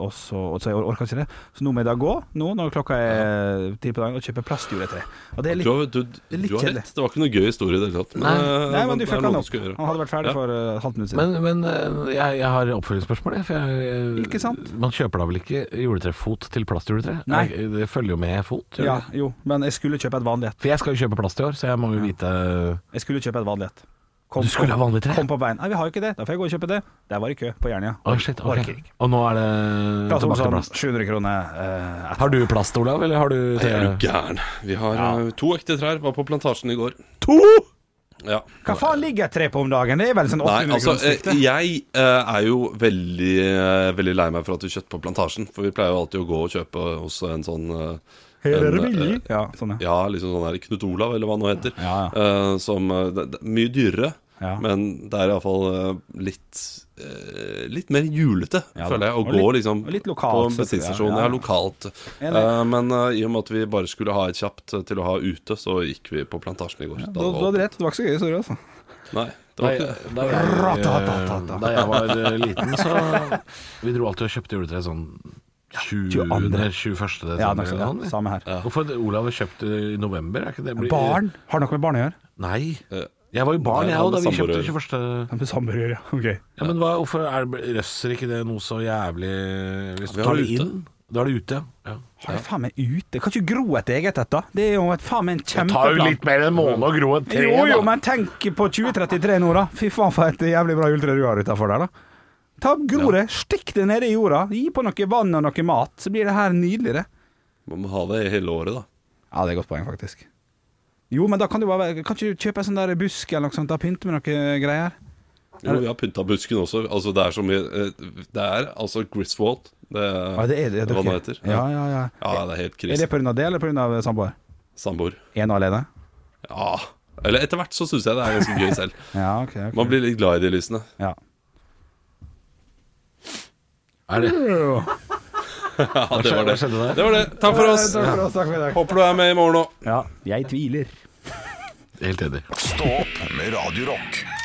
S5: og så, og så jeg orka ikke det. Så nå må jeg da gå, nå når klokka er ti på dagen, og kjøpe plastjuletre. Og det er
S4: Du
S5: litt
S4: har, du,
S5: er litt
S4: du har
S5: kjedelig.
S4: rett. Det var ikke noe gøy historie i det hele tatt.
S3: Nei.
S4: eh,
S5: Nei, men du
S4: det er
S5: fucka
S4: noe
S5: han
S4: du
S5: opp.
S4: skal gjøre.
S5: Han hadde vært ferdig
S4: Ja.
S5: for uh, halvt minutt siden.
S3: Men, men eh, jeg, jeg har oppfølgingsspørsmål. jeg, For jeg, jeg,
S5: Ikke sant?
S3: Man kjøper da vel ikke juletrefot til plastjuletre?
S5: Nei.
S3: Jeg- Det følger jo med fot. gjør
S5: ja,
S3: det?
S5: jo, men jeg skulle kjøpe et vanlig et.
S3: For jeg skal jo kjøpe plast i år, så jeg må jo vite
S5: Jeg skulle kjøpe et vanlig et. Kom-
S3: Du skulle ha vanlig tre?
S5: Kom på bein. Nei, vi har jo ikke det. Da får jeg gå og kjøpe det. Der var det kø på Jernia.
S3: Å, Ah, shit, ok.
S5: Orker ikke.
S3: Og nå er det
S5: Plass
S3: tilbake til
S5: Olsson,
S3: plast.
S5: 700 kroner. sånn eh, et-
S3: Har du plast, Olav, eller har du
S4: Nei, er du gæren? Vi har eh, to ekte trær. Var på plantasjen i går.
S5: to?
S4: Ja.
S5: Hva faen ligger et tre på om dagen? Det er vel sånn
S4: Nei,
S5: 800
S4: altså,
S5: kroner stykk,
S4: eh,
S5: det.
S4: jeg eh, er jo veldig, eh, veldig lei meg for at vi kjøtt på plantasjen. For vi pleier jo alltid å gå og kjøpe hos en sånn eh, en, eh,
S5: Ja, sånn ja.
S4: Ja, liksom sånn der Knut Olav, eller hva han nå heter.
S5: Ja,
S4: eh, som eh, det, det, er Mye dyrere,
S5: Ja.
S4: men det er iallfall uh, litt eh, litt mer julete,
S5: Ja,
S4: føler jeg, å
S5: og
S4: gå
S5: litt-
S4: liksom
S5: og litt lokalt,
S4: på en
S5: selvfølgelig, ja,
S4: bensinstasjon.
S5: ja.
S4: Ja, lokalt.
S5: Enig.
S4: Eh, men eh, i og med at vi bare skulle ha et kjapt eh, til å ha ute, så gikk vi på Plantasjen i går.
S5: Da, da
S4: det
S5: hadde
S4: var-
S5: du rett, det var ikke så gøy. Sorry, altså.
S4: Nei, det
S3: Da,
S4: var
S3: jeg-
S4: ikke
S3: da, jeg, eh, da jeg var eh, liten, så Vi dro alltid og kjøpte juletre sånn 20.
S5: 22.. Ja,
S3: 21. desember.
S5: nok så,
S3: eller
S5: ja,
S3: noe sånt.
S5: samme her.
S3: Hvorfor hadde Olav kjøpt eh, i november? Er ikke det blir-
S5: Barn? Har det noe med barn å gjøre?
S3: Nei.
S4: eh,
S3: Jeg var jo barn,
S4: Nei,
S3: jeg
S4: han
S3: òg, da
S4: med
S3: vi kjøpte
S4: samboer.
S3: 21.
S5: Ja, Med samboer, ja. Ok.
S3: Ja, men hva, hvorfor er det, røsser ikke det noe så jævlig eh, Hvis du
S4: Vi har
S3: tar det
S4: det ute.
S3: inn, da er det ute. Ja.
S5: Har jeg faen meg ute? Kan ikke gro et eget et, da. Det er jo et faen meg en kjempeplan.
S3: mer enn en måned å gro et
S5: Jo, jo, men tenk på 2033 nå, da. Fy faen for et jævlig bra juletre du har utafor der, da. Ta Gro det, stikk det nede i jorda, gi på noe vann og noe mat, så blir det her nydelig, det.
S4: Man må ha det hele året, da.
S5: Ja, det er et godt poeng, faktisk. Jo, men da kan du bare Kan ikke du kjøpe en sånn der busk eller noe sånt, da pynte med noe greier?
S4: Jo, vi har pynta busken også. Altså, det er så mye eh, Det er altså Griswold. Det,
S5: Ja, det er det.
S4: hva det
S5: dere.
S4: heter.
S5: Ja, ja, ja.
S4: Ja, det er helt
S5: Er
S4: krise.
S5: det pga. det, eller pga. samboer?
S4: Samboer.
S5: Én og alene?
S4: Ja. Eller etter hvert så syns jeg det er ganske gøy selv.
S5: Ja, ok. ok.
S4: Man blir litt glad i de lysene.
S5: ja.
S3: Er det,
S4: Ja, det var det.
S3: skjedde der?
S4: Det var det. Takk for oss.
S5: Takk for oss, takk for i dag.
S4: Håper du er med i morgen òg.
S5: Ja, jeg tviler.
S3: Helt enig.
S1: Stå opp med Radio Rock.